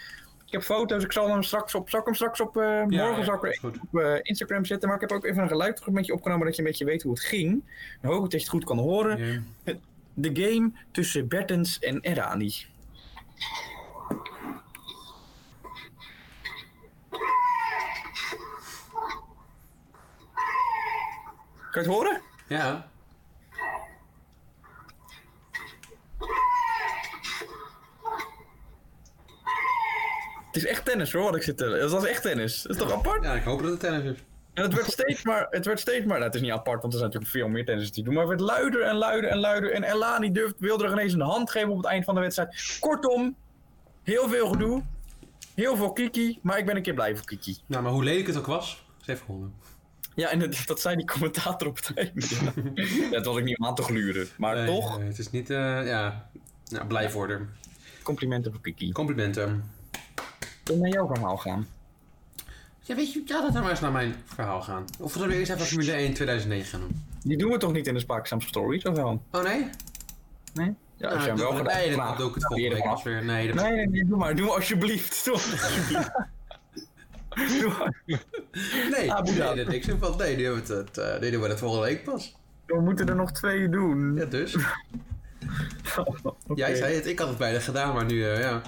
S1: Ik heb foto's, ik zal hem straks op, zal ik hem straks op, eh,
S2: Ja,
S1: morgen
S2: ja,
S1: zal ik er
S2: is goed.
S1: op eh, Instagram zetten. Maar ik heb ook even een geluid met je opgenomen, dat je een beetje weet hoe het ging. Dan hoop ik dat je het goed kan horen.
S2: Ja.
S1: De game tussen Bertens en Irani. Kan je het horen?
S2: Ja.
S1: Het is echt tennis hoor, wat ik zit te... Dat was echt tennis. Dat is toch apart?
S2: Ja, ik hoop dat het tennis is.
S1: En het werd steeds maar... Het werd steeds maar... Nou, het is niet apart, want er zijn natuurlijk veel meer tennis die doen. Maar het werd luider en luider en luider. En Elani durft, wilde er ineens een hand geven op het eind van de wedstrijd. Kortom, heel veel gedoe. Heel veel kiki. Maar ik ben een keer blij voor kiki.
S2: Nou, maar hoe lelijk het ook was, ze heeft gewonnen.
S1: Ja, en dat, dat zei die commentator op het einde. Ja. dat was ik niet om aan te gluren. Maar
S2: Nee,
S1: toch,
S2: nee, het is niet, eh, ja. Nou, blij voor haar.
S1: complimenten voor Kiki.
S2: Complimenten.
S1: Kom naar jouw verhaal gaan.
S2: Ja, weet je, ja, laten we maar eens naar mijn verhaal gaan. Of zullen we eerst even Formule 1 2009 gaan doen?
S1: Die doen we toch niet in de Spaakzaam Stories, of wel?
S2: Oh nee?
S1: Nee? Ja, als je hem
S2: doe
S1: wel
S2: ik-
S1: gedaan
S2: Nee,
S1: hebt,
S2: dat
S1: vraag.
S2: doe ik het
S1: Dan
S2: volgende
S1: weer
S2: week
S1: vanaf.
S2: pas weer. Nee, dat...
S1: Nee, nee, nee, doe maar. Doe maar alsjeblieft. Doe maar alsjeblieft. Doe maar.
S2: nee,
S1: Abu
S2: nee,
S1: Dhabi.
S2: dat niks in valt. Nee, die doen we het, eh, die doen we dat volgende week pas.
S1: We moeten er nog twee doen.
S2: Ja, dus.
S1: Oké.
S2: Jij zei het, ik had het bijna gedaan, maar nu, eh, ja.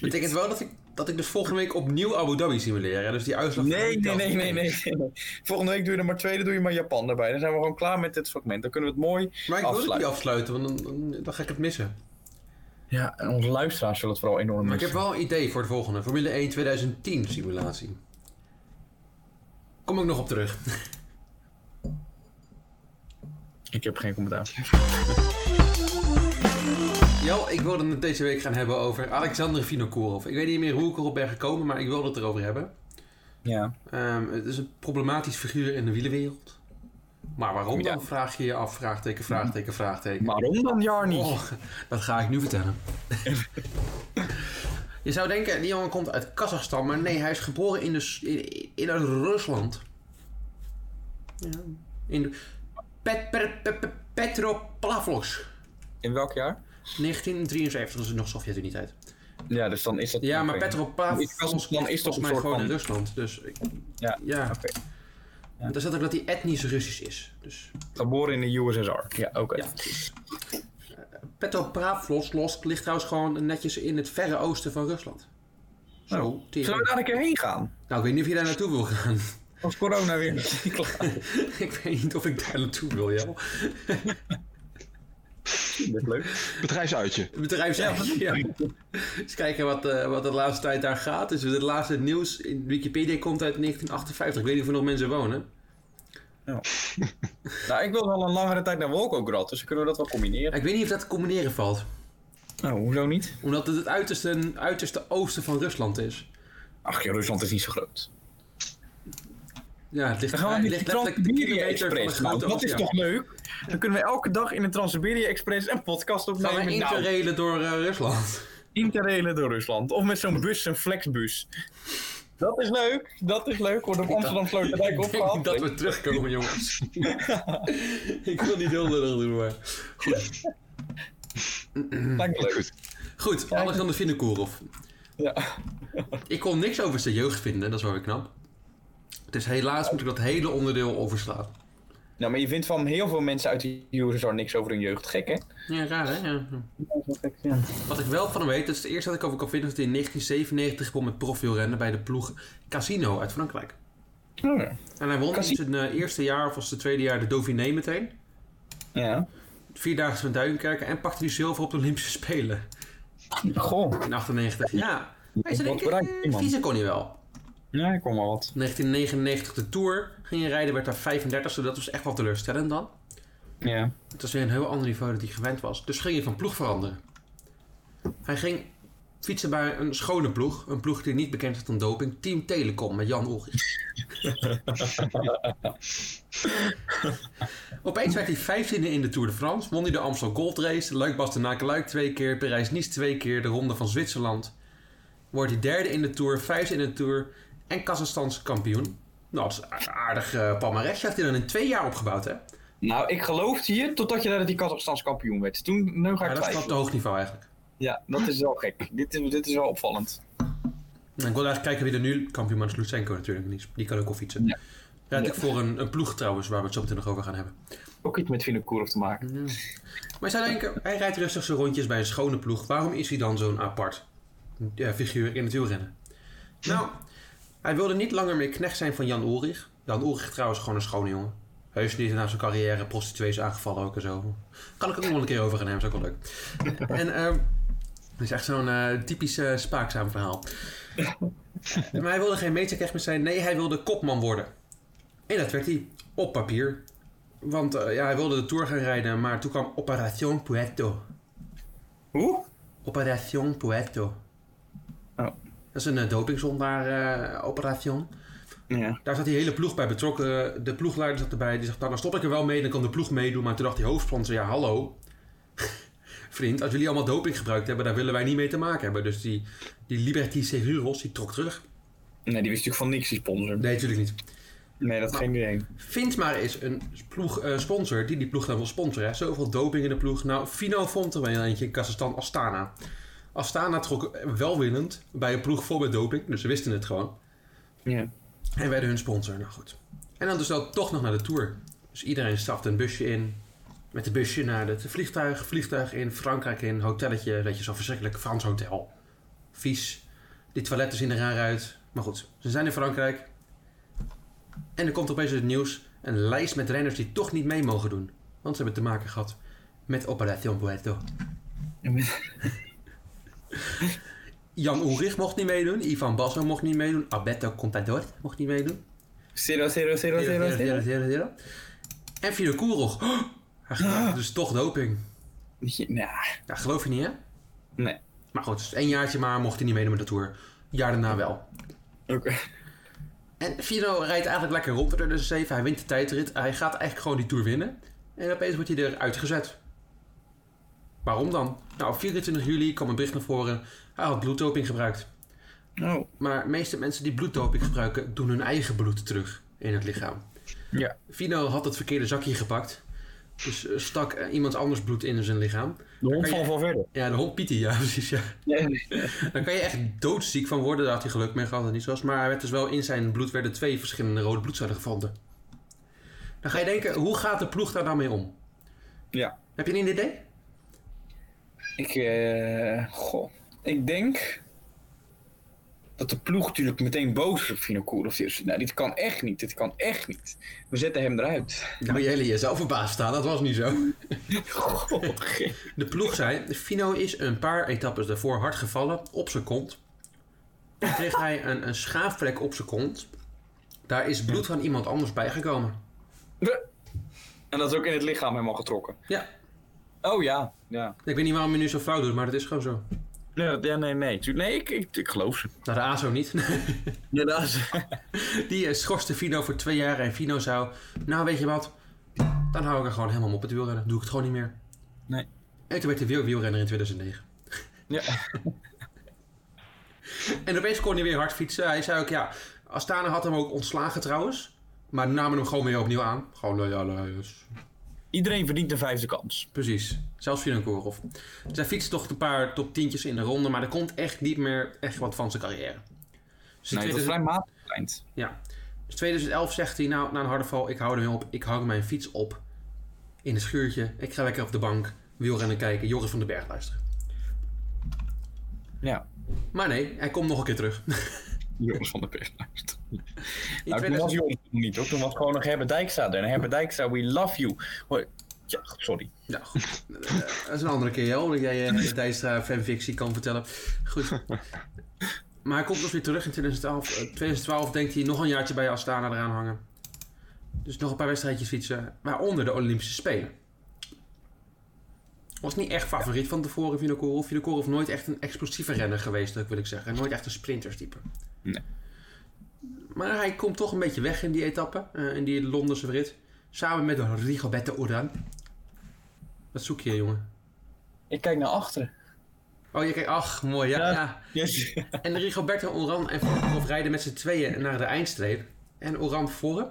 S2: Betekent wel dat ik, dat ik dus volgende week opnieuw Abu Dhabi simuleer, hè? Dus die uitslag... van
S1: Nee,
S2: die
S1: nee,
S2: telt
S1: nee,
S2: niet
S1: nee,
S2: mee.
S1: nee, nee. Volgende week doe je er maar twee, dan doe je maar Japan erbij. Dan zijn we gewoon klaar met dit fragment. Dan kunnen we het mooi
S2: Maar ik wil het niet
S1: afsluiten.
S2: afsluiten, want dan, dan, dan ga ik het missen.
S1: Ja, en onze luisteraars zullen het vooral enorm
S2: Maar ik
S1: missen.
S2: heb wel een idee voor het volgende. Formule 1 2010 simulatie. Kom ik nog op terug.
S1: Ik heb geen commentaar.
S2: Jo, ik wilde het deze week gaan hebben over Alexander Vinokourov. Ik weet niet meer hoe ik erop ben gekomen, maar ik wilde het erover hebben.
S1: Ja.
S2: Ehm, het is een problematisch figuur in de wielenwereld. Maar waarom
S1: Ja.
S2: dan, vraag je je af. Vraagteken, vraagteken, vraagteken.
S1: Waarom dan Jarni?
S2: Oh, dat ga ik nu vertellen. je zou denken, die jongen komt uit Kazachstan, maar nee, hij is geboren in, de, s- in, in Rusland. Ja. In de- Pet, Pet- Pet- Pet- Petropavlovsk,
S1: In welk jaar?
S2: 1973, dat is nog Sovjet-Unie tijd.
S1: Ja, dus dan is dat...
S2: Ja, maar
S1: oké.
S2: Petropavlovsk
S1: Is Kazachstan is toch
S2: volgens
S1: een
S2: mij
S1: soort
S2: gewoon
S1: van...
S2: in Rusland, dus ik-
S1: Ja,
S2: ja.
S1: oké.
S2: Daar staat ook dat hij etnisch Russisch is. Dus,
S1: Geboren in de USSR. Ja, oké.
S2: ja. precies. Eh, Petropavlovsk ligt trouwens gewoon netjes in het verre oosten van Rusland. Zo, tering.
S1: Zullen we daar een keer heen gaan?
S2: Nou, ik weet niet of je daar naartoe wil gaan.
S1: Als corona weer niet klaar
S2: ik weet niet of ik daar naartoe wil, joh.
S1: is. Dat is leuk.
S3: Bedrijfsuitje.
S2: Het bedrijf zelf. Ja. Eens kijken wat, eh, wat de laatste tijd daar gaat. Dus het laatste nieuws in Wikipedia komt uit 1958. Ik weet niet of er nog mensen wonen.
S1: Nou, ik wil wel een langere tijd naar Wolkograd, dus kunnen we dat wel combineren.
S2: Ik weet niet of dat te combineren valt.
S1: Nou, hoezo niet?
S2: Omdat het het uiterste, uiterste oosten van Rusland is.
S1: Ach joh, Rusland is niet zo groot.
S2: Ja, het ligt,
S1: Dan gaan we
S2: het
S1: met
S2: ligt
S1: die
S2: letterlijk een
S1: Trans-Siberië
S2: kilometer van de
S1: Express. Nou,
S2: grote
S1: dat is
S2: oceaan.
S1: toch leuk? Dan kunnen we elke dag in de Trans-Siberië Express een podcast
S2: Gaan
S1: opnemen. Nou,
S2: we interrailen door eh, Rusland.
S1: interrailen door Rusland. Of met zo'n bus, zo'n flexbus. Dat is leuk, dat is leuk. Wordt op Amsterdam Sloterdijk
S2: Ik denk
S1: opgehaald.
S2: niet dat we terugkomen, jongens. ik wil niet heel lullig doen, maar...
S1: Lijkt me leuk.
S3: Goed.
S2: Goed, Alexander Vinokourov.
S1: Ja.
S2: Ik kon niks over zijn jeugd vinden, dat is wel weer knap. Dus helaas moet ik dat hele onderdeel overslaan.
S1: Nou, maar je vindt van heel veel mensen uit de USSR niks over hun jeugd. Gek, hè?
S2: Ja, raar hè? Wat ik wel van hem weet, dat is het eerste dat ik over kan vinden, is dat hij in 1997 begon met profielrennen bij de ploeg Casino uit Frankrijk.
S1: Oh, ja.
S2: En hij won in
S1: Casino.
S2: zijn eh, eerste jaar of was het tweede jaar de Dauphiné meteen.
S1: Ja.
S2: Vierdaagse van Duinkerken en pakte die zilver op de Olympische Spelen
S1: Goh.
S2: in 98. Ja, hij zei,
S1: Wat
S2: ik,
S1: bereikt die
S2: eh,
S1: man?
S2: vieze kon hij wel.
S1: Ja, ik kom wel wat.
S2: 1999 de Tour ging je rijden, werd daar 35, zodat dat was echt wel teleurstellend dan.
S1: Ja.
S2: Het was weer een heel ander niveau dat hij gewend was. Dus ging hij van ploeg veranderen. Hij ging fietsen bij een schone ploeg. Een ploeg die niet bekend is aan doping. Team Telecom met Jan Ulrich. Opeens werd hij 15e in de Tour de France. Won hij de Amstel Gold Race. Luik Bastenaken Luik twee keer. Parijs-Nice twee keer. De Ronde van Zwitserland. Wordt hij derde in de Tour. Vijfde in de Tour. En Kazachstans kampioen. Nou, dat is een aardig eh palmarès. heeft hij dan in twee jaar opgebouwd, hè?
S1: Nou, ik geloofde hier totdat je daar die Kazachstans kampioen werd. Toen nu ga
S2: Ja,
S1: ik
S2: dat is wel op
S1: twijfelen.
S2: te hoog niveau eigenlijk.
S1: Ja, dat is wel gek. Dit is, dit is wel opvallend.
S2: Nou, Ik wil eigenlijk kijken wie er nu kampioen is. Lutsenko natuurlijk. Die, is- die kan ook wel fietsen.
S1: Ja.
S2: Rijd ik
S1: Ja.
S2: voor een, een ploeg trouwens, waar we het zo meteen nog over gaan hebben.
S1: Ook iets met Vinokourov te maken.
S2: Mm. Maar je zou denken, hij rijdt rustig zijn rondjes bij een schone ploeg. Waarom is hij dan zo'n apart ja, figuur in het wielrennen? Nou, hij wilde niet langer meer knecht zijn van Jan Ulrich. Jan Ulrich trouwens gewoon een schone jongen. Heus niet na zijn carrière prostituees aangevallen ook en zo. Kan ik ook nog wel een keer over gaan hebben, is ook wel leuk. En ehm dat is echt zo'n eh, typisch eh, spaakzaam verhaal. maar hij wilde geen meesterknecht meer zijn. Nee, hij wilde kopman worden. En dat werd hij op papier. Want eh, ja, hij wilde de Tour gaan rijden, maar toen kwam Operación Puerto.
S1: Hoe?
S2: Operación Puerto.
S1: Oh.
S2: Dat is een eh, dopingzondaar, eh Operación.
S1: Ja.
S2: Daar zat die hele ploeg bij betrokken. De ploegleider zat erbij. Die zegt, nou, dan stop ik er wel mee. Dan kan de ploeg meedoen. Maar toen dacht die hoofdsponsor, ja, hallo. Vriend, als jullie allemaal doping gebruikt hebben, daar willen wij niet mee te maken hebben. Dus die, die Liberty Seguros, die trok terug.
S1: Nee, die wist natuurlijk van niks, die sponsor.
S2: Nee, natuurlijk niet.
S1: Nee, dat ging niet heen.
S2: Vind maar eens een ploeg, eh, sponsor die die ploeg dan wil sponsoren. Hè. Zoveel doping in de ploeg. Nou, Fino vond er wel eentje in Kazachstan, Astana. Astana trok welwinnend bij een ploeg voor met doping. Dus ze wisten het gewoon.
S1: Ja.
S2: En werden hun sponsor. Nou goed. En dan dus wel toch nog naar de Tour. Dus iedereen stapte een busje in. Met een busje naar het vliegtuig. Vliegtuig in, Frankrijk in, hotelletje. Weet je, zo'n verschrikkelijk Frans hotel. Vies. Die toiletten zien er raar uit. Maar goed, ze zijn in Frankrijk. En er komt opeens het nieuws. Een lijst met renners die toch niet mee mogen doen. Want ze hebben te maken gehad met Operación Puerto. Jan Ulrich mocht niet meedoen. Ivan Basso mocht niet meedoen. Alberto Contador mocht niet meedoen.
S1: Zero, zero, zero,
S2: Zero,
S1: zero,
S2: zero,
S1: zero.
S2: zero, zero. En Fidel Koerog. Hij gebruikte dus toch doping.
S1: Ja, nou,
S2: Ja, geloof je niet, hè?
S1: nee.
S2: Maar goed, dus één jaartje maar mocht hij niet meedoen met de Tour. Een jaar daarna wel.
S1: Oké.
S2: En Fino rijdt eigenlijk lekker rond door de 7. Hij wint de tijdrit. Hij gaat eigenlijk gewoon die Tour winnen. En opeens wordt hij eruit gezet. Waarom dan? Nou, op 24 juli kwam een bericht naar voren. Hij had bloeddoping gebruikt.
S1: Oh.
S2: Maar de meeste mensen die bloeddoping gebruiken, doen hun eigen bloed terug in het lichaam.
S1: Ja.
S2: Vino had het verkeerde zakje gepakt. Dus eh, stak eh, iemand anders bloed in zijn lichaam.
S1: De hond
S2: van
S1: van verder.
S2: Ja, de hond Pietie, ja precies. Ja. Daar kan je echt doodziek van worden. Daar had hij geluk mee gehad dat het niet zo was. Maar hij werd dus wel in zijn bloed werden twee verschillende rode bloedcellen gevonden. Dan ga je denken, hoe gaat de ploeg daar nou mee om?
S1: Ja.
S2: Heb je een idee?
S1: Ik, eh, goh. ik denk dat de ploeg natuurlijk meteen boos is op Vinokourov. Die is, Nou, dit kan echt niet, dit kan echt niet. We zetten hem eruit.
S2: Nou, jullie jezelf verbaasd staan. Dat was niet zo.
S1: Goh,
S2: De ploeg zei, Fino is een paar etappes daarvoor hard gevallen op zijn kont. En kreeg hij een, een schaafplek op zijn kont. Daar is bloed van iemand anders bijgekomen.
S1: en dat is ook in het lichaam helemaal getrokken.
S2: Ja,
S1: Oh ja, ja.
S2: ik weet niet waarom je nu zo flauw doet, maar dat is gewoon zo.
S1: Nee, ja, nee, nee. Tu- Nee, ik, ik, ik geloof ze.
S2: Nou, de ASO niet.
S1: Ja, dat is...
S2: Die eh, schorste Fino voor twee jaar en Fino zou... Nou, weet je wat? Dan hou ik er gewoon helemaal op het wielrennen. Doe ik het gewoon niet meer.
S1: Nee.
S2: En toen werd hij weer wielrenner in 2009.
S1: Ja.
S2: En opeens kon hij weer hard fietsen. Hij zei ook, ja, Astana had hem ook ontslagen trouwens. Maar namen hem gewoon weer opnieuw aan. Gewoon loyaal. eh, dus.
S1: Iedereen verdient een vijfde kans.
S2: Precies. Zelfs Vinenkorov. Dus hij fietst toch een paar top tientjes in de ronde. Maar er komt echt niet meer echt wat van zijn carrière. Dus in
S1: Nee, dat is
S2: 2000
S1: vrij matig eind.
S2: ja. Dus 2011 zegt hij, nou, na een harde val, ik hou ermee op. Ik hou mijn fiets op. In een schuurtje. Ik ga lekker op de bank wielrennen kijken. Joris van den Berg luisteren.
S1: Ja.
S2: Maar nee, hij komt nog een keer terug. In
S1: Joris van de Pers Nou, toen
S2: 2000
S1: was Joris nog niet hoor. Toen was gewoon nog Herbert Dijkstra er. En Herbert Dijkstra, we love you. Hoor, Ja, goed, sorry.
S2: Ja, goed. Eh, dat is een andere keer, joh, omdat jij eh Dijkstra fanfictie kan vertellen. Goed. Maar hij komt dus weer terug in 2012. Eh, 2012 denkt hij nog een jaartje bij Astana eraan hangen. Dus nog een paar wedstrijdjes fietsen, waaronder de Olympische Spelen. Was niet echt favoriet van tevoren Vinokourov. Vinokourov nooit echt een explosieve renner geweest, dat wil ik zeggen. Nooit echt een sprinterstype.
S1: Nee.
S2: Maar hij komt toch een beetje weg in die etappe, eh, in die Londense rit. Samen met Rigoberto Oran. Wat zoek je, jongen?
S1: Ik kijk naar achteren.
S2: Oh, je kijkt, ach, mooi, ja.
S1: Ja.
S2: ja. En Rigoberto Oran en Volkerov rijden met z'n tweeën naar de eindstreep. En Oran voor hem.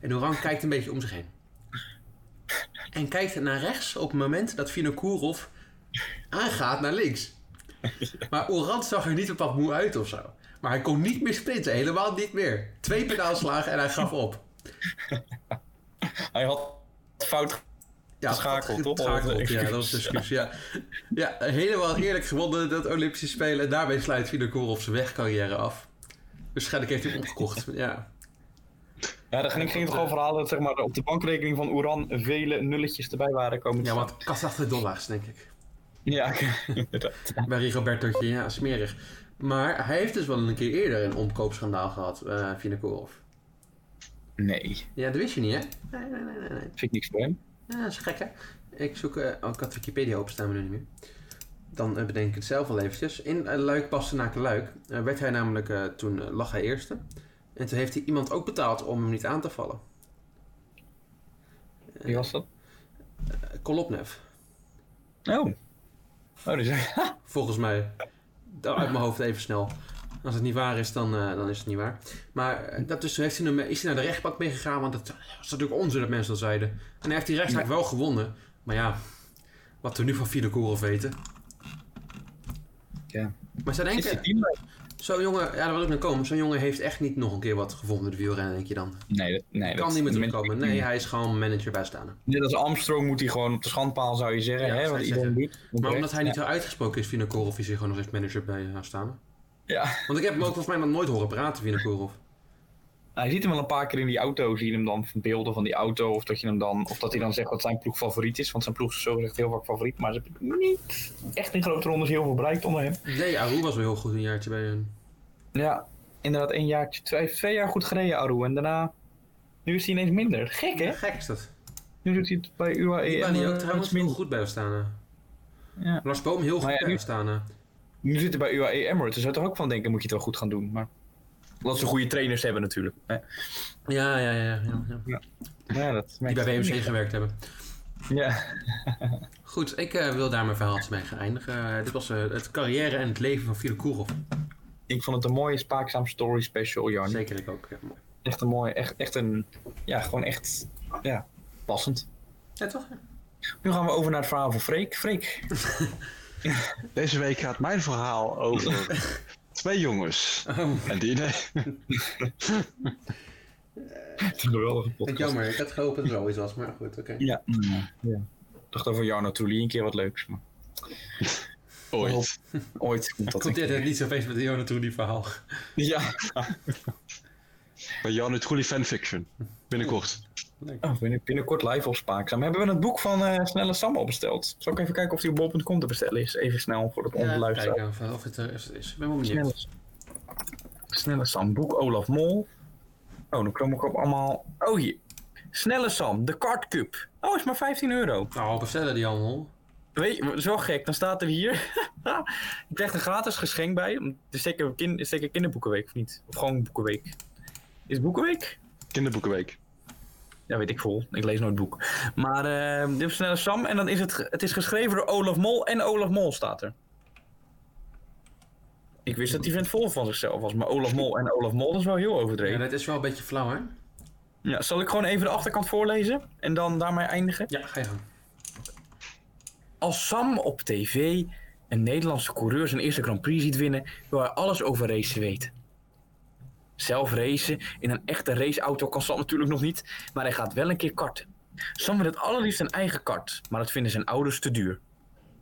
S2: En Oran kijkt een beetje om zich heen. En kijkt naar rechts op het moment dat Vinokourov aangaat naar links. Maar Oran zag er niet op wat moe uit of zo. Maar hij kon niet meer sprinten, helemaal niet meer. Twee pedaalslagen en hij gaf op.
S1: Hij had fout.
S2: Ja,
S1: Geschakeld, toch?
S2: geschakeld, ja, dat was de excuus. Ja. ja, helemaal eerlijk gewonnen dat Olympische Spelen. En daarmee sluit Vinokourov zijn wegcarrière af. Waarschijnlijk heeft hij hem opgekocht. Ja.
S1: Ja, dan ging, ging het gewoon verhalen dat zeg maar, op de bankrekening van Oeran vele nulletjes erbij waren komen. te
S2: ja,
S1: staan.
S2: want kast 80 dollars, denk ik.
S1: Ja, inderdaad.
S2: Bij Rigobertootje, ja, smerig. Maar hij heeft dus wel een keer eerder een omkoopschandaal gehad, eh Vinokourov.
S1: Nee, vind
S2: Ja, dat wist je niet, hè? Nee, nee, nee, nee. nee.
S1: ik niks voor hem.
S2: Ja, dat is gek, hè? Ik zoek... eh, oh, ik had Wikipedia openstaan, maar nu niet meer. Dan eh, bedenk ik het zelf al eventjes. In eh, Luik Bastenaken Luik eh, werd hij namelijk... eh, toen eh, lag hij eerste. En toen heeft hij iemand ook betaald om hem niet aan te vallen.
S1: Wie was dat?
S2: Eh, Kolopnev,
S1: Oh. Oh, dus,
S2: volgens mij. Dat uit mijn hoofd even snel. Als het niet waar is, dan, eh, dan is het niet waar. Maar eh, dat dus, heeft hij hem, eh, is hij naar de rechtbank meegegaan, want dat was natuurlijk onzin dat mensen dat zeiden. En hij heeft die rechtszaak wel gewonnen. Maar ja, wat we nu van Fidekorov weten.
S1: ja.
S2: Maar zijn
S1: Is
S2: enkele,
S1: die team bij?
S2: Zo'n jongen, ja, daar wil ik naar komen. Zo'n jongen heeft echt niet nog een keer wat gevonden met de wielrennen, denk je dan?
S1: Nee, dat, nee,
S2: kan
S1: dat,
S2: niet meer
S1: dat-
S2: terugkomen. Nee, hij is gewoon manager bij Astana.
S1: Net als Armstrong moet hij gewoon op de schandpaal, zou je zeggen.
S2: Ja,
S1: hè,
S2: zou
S1: wat
S2: je
S1: iedereen
S2: zeggen.
S1: doet.
S2: Maar omdat hij niet zo uitgesproken is, Vinokourov, is hij gewoon nog eens manager bij eh, Astana.
S1: Ja.
S2: Want ik heb hem ook volgens mij nog nooit horen praten, Vinokourov.
S1: Hij ziet hem wel een paar keer in die auto. Zie je hem dan van beelden van die auto. Of dat, je hem dan, of dat hij dan zegt wat zijn ploeg favoriet is. Want zijn ploeg is zogezegd heel vaak favoriet. Maar ze hebben niet echt in grote rondes heel veel bereikt onder hem.
S2: Nee, Aru was wel heel goed een jaartje bij hun.
S1: Ja, inderdaad één jaartje. Twee, hij heeft twee jaar goed gereden, Aru. En daarna... Nu is hij ineens minder. Gek, hè?
S2: Gek is dat.
S1: Nu doet hij het bij UAE.
S2: Ik ben
S1: en,
S2: hier ook
S1: eh,
S2: trouwens heel goed bij Astana.
S1: Ja.
S2: Lars Boom heel goed
S1: Maar ja,
S2: bij
S1: nu-
S2: Astana.
S1: Nu zit hij bij UAE Emirates. Daar zou je toch ook van denken, moet je het wel goed gaan doen. Maar... Dat ze goede trainers hebben natuurlijk. hè.
S2: Ja, ja, ja. ja, ja.
S1: Ja, dat
S2: Die bij WMC gewerkt hebben.
S1: Ja.
S2: Goed, ik eh, wil daar mijn verhaaltje mee gaan eindigen. Eh, dit was eh, het carrière en het leven van Vinokourov.
S1: Ik vond het een mooie Spaakzaam Story special, Jarn.
S2: Zeker ik ook. Ja, mooi.
S1: Echt een mooie, echt, echt een... Ja, gewoon echt... Ja, passend.
S2: ja toch? Ja.
S1: Nu gaan we over naar het verhaal van Freek. Freek.
S3: Deze week gaat mijn verhaal over twee jongens. En die,
S1: Geweldige
S2: Vind
S1: podcast. Mm.
S2: ik jammer, ik had gehoopt dat er zoiets was, maar goed, oké.
S1: Ja. ja. Ik dacht over Jarno Trulli een keer wat leuks. Maar
S3: ooit.
S1: ooit komt dat. een
S2: Komt dit
S1: keer.
S2: net niet zo feest met Jonah toe, die verhaal?
S1: Ja.
S3: Bij Jan het Goelie fanfiction. Binnenkort.
S1: Oh, binnen- binnenkort live op Spaakzaam. Hebben we het boek van eh, Snelle Sam al besteld? Zal ik even kijken of die op bol.com te bestellen is? Even snel voor het
S2: Ja,
S1: onderluisteren.
S2: kijken eh, of, of het er is, is. Ik ben wel
S1: Snelle,
S2: benieuwd.
S1: Snelle Sam, boek Olaf Mol. Oh, dan kom ik op allemaal... Oh, hier. Snelle Sam, de Card Cup. Oh, is maar 15 euro.
S2: Nou, bestellen die allemaal.
S1: Weet je, dat is wel gek. Dan staat er hier... ik krijg een gratis geschenk bij. Het is zeker, kin- is zeker kinderboekenweek, of niet? Of gewoon boekenweek. Is het boekenweek?
S3: Kinderboekenweek.
S1: Ja, weet ik veel. Ik lees nooit boek. Maar eh, dit is snelle Sam. En dan is het, ge- het is geschreven door Olaf Mol. En Olaf Mol staat er. Ik wist dat die vent vol van zichzelf was. Maar Olaf Mol en Olaf Mol, dat is wel heel
S2: Ja,
S1: overdreven.
S2: dat is wel een beetje flauw, hè?
S1: Ja, zal ik gewoon even de achterkant voorlezen? En dan daarmee eindigen?
S2: Ja, ga je gang.
S1: Als Sam op tv een Nederlandse coureur zijn eerste Grand Prix ziet winnen, wil hij alles over racen weten. Zelf racen in een echte raceauto kan Sam natuurlijk nog niet, maar hij gaat wel een keer karten. Sam wil het allerliefst een eigen kart, maar dat vinden zijn ouders te duur.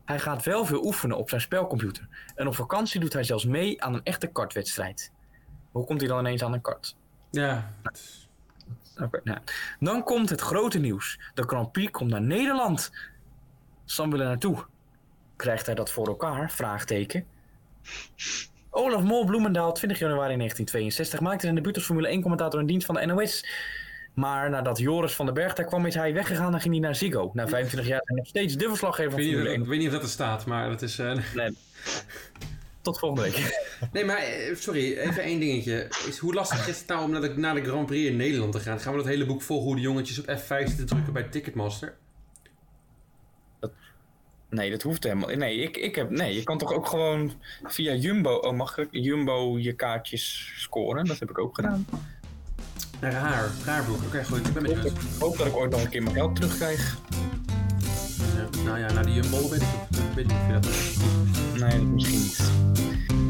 S1: Hij gaat wel veel oefenen op zijn spelcomputer en op vakantie doet hij zelfs mee aan een echte kartwedstrijd. Hoe komt hij dan ineens aan een kart?
S2: Ja.
S1: Oké, nou. Dan komt het grote nieuws. De Grand Prix komt naar Nederland. Sam wil er naartoe. Krijgt hij dat voor elkaar? Vraagteken. Olaf Mol Bloemendaal, 20 januari 1962, maakte zijn debuut als Formule 1 commentator in dienst van de NOS. Maar nadat Joris van den Berg daar kwam, is hij weggegaan en ging hij naar Ziggo. Na 25 jaar zijn nog steeds de verslaggever van
S2: Ik weet, niet,
S1: Formule
S2: of-
S1: 1.
S2: ik weet niet of dat er staat, maar dat is... eh,
S1: Tot volgende week.
S2: Nee, maar eh, sorry, even één dingetje. Is, hoe lastig is het nou om naar de, naar de Grand Prix in Nederland te gaan? Gaan we dat hele boek volgen hoe de jongetjes op F5 zitten drukken bij Ticketmaster?
S1: Nee, dat hoeft helemaal Nee, ik, ik heb, nee, je kan toch ook gewoon via Jumbo, oh, mag ik, Jumbo je kaartjes scoren? Dat heb ik ook gedaan.
S2: Raar, raar boek. Oké, goed, ik ben met je
S1: Ik
S2: eens.
S1: hoop dat ik ooit nog een keer mijn geld terugkrijg.
S2: Ja, Nou ja, naar die Jumbo weet ik, weet ik niet of je dat-
S1: Nee, misschien niet.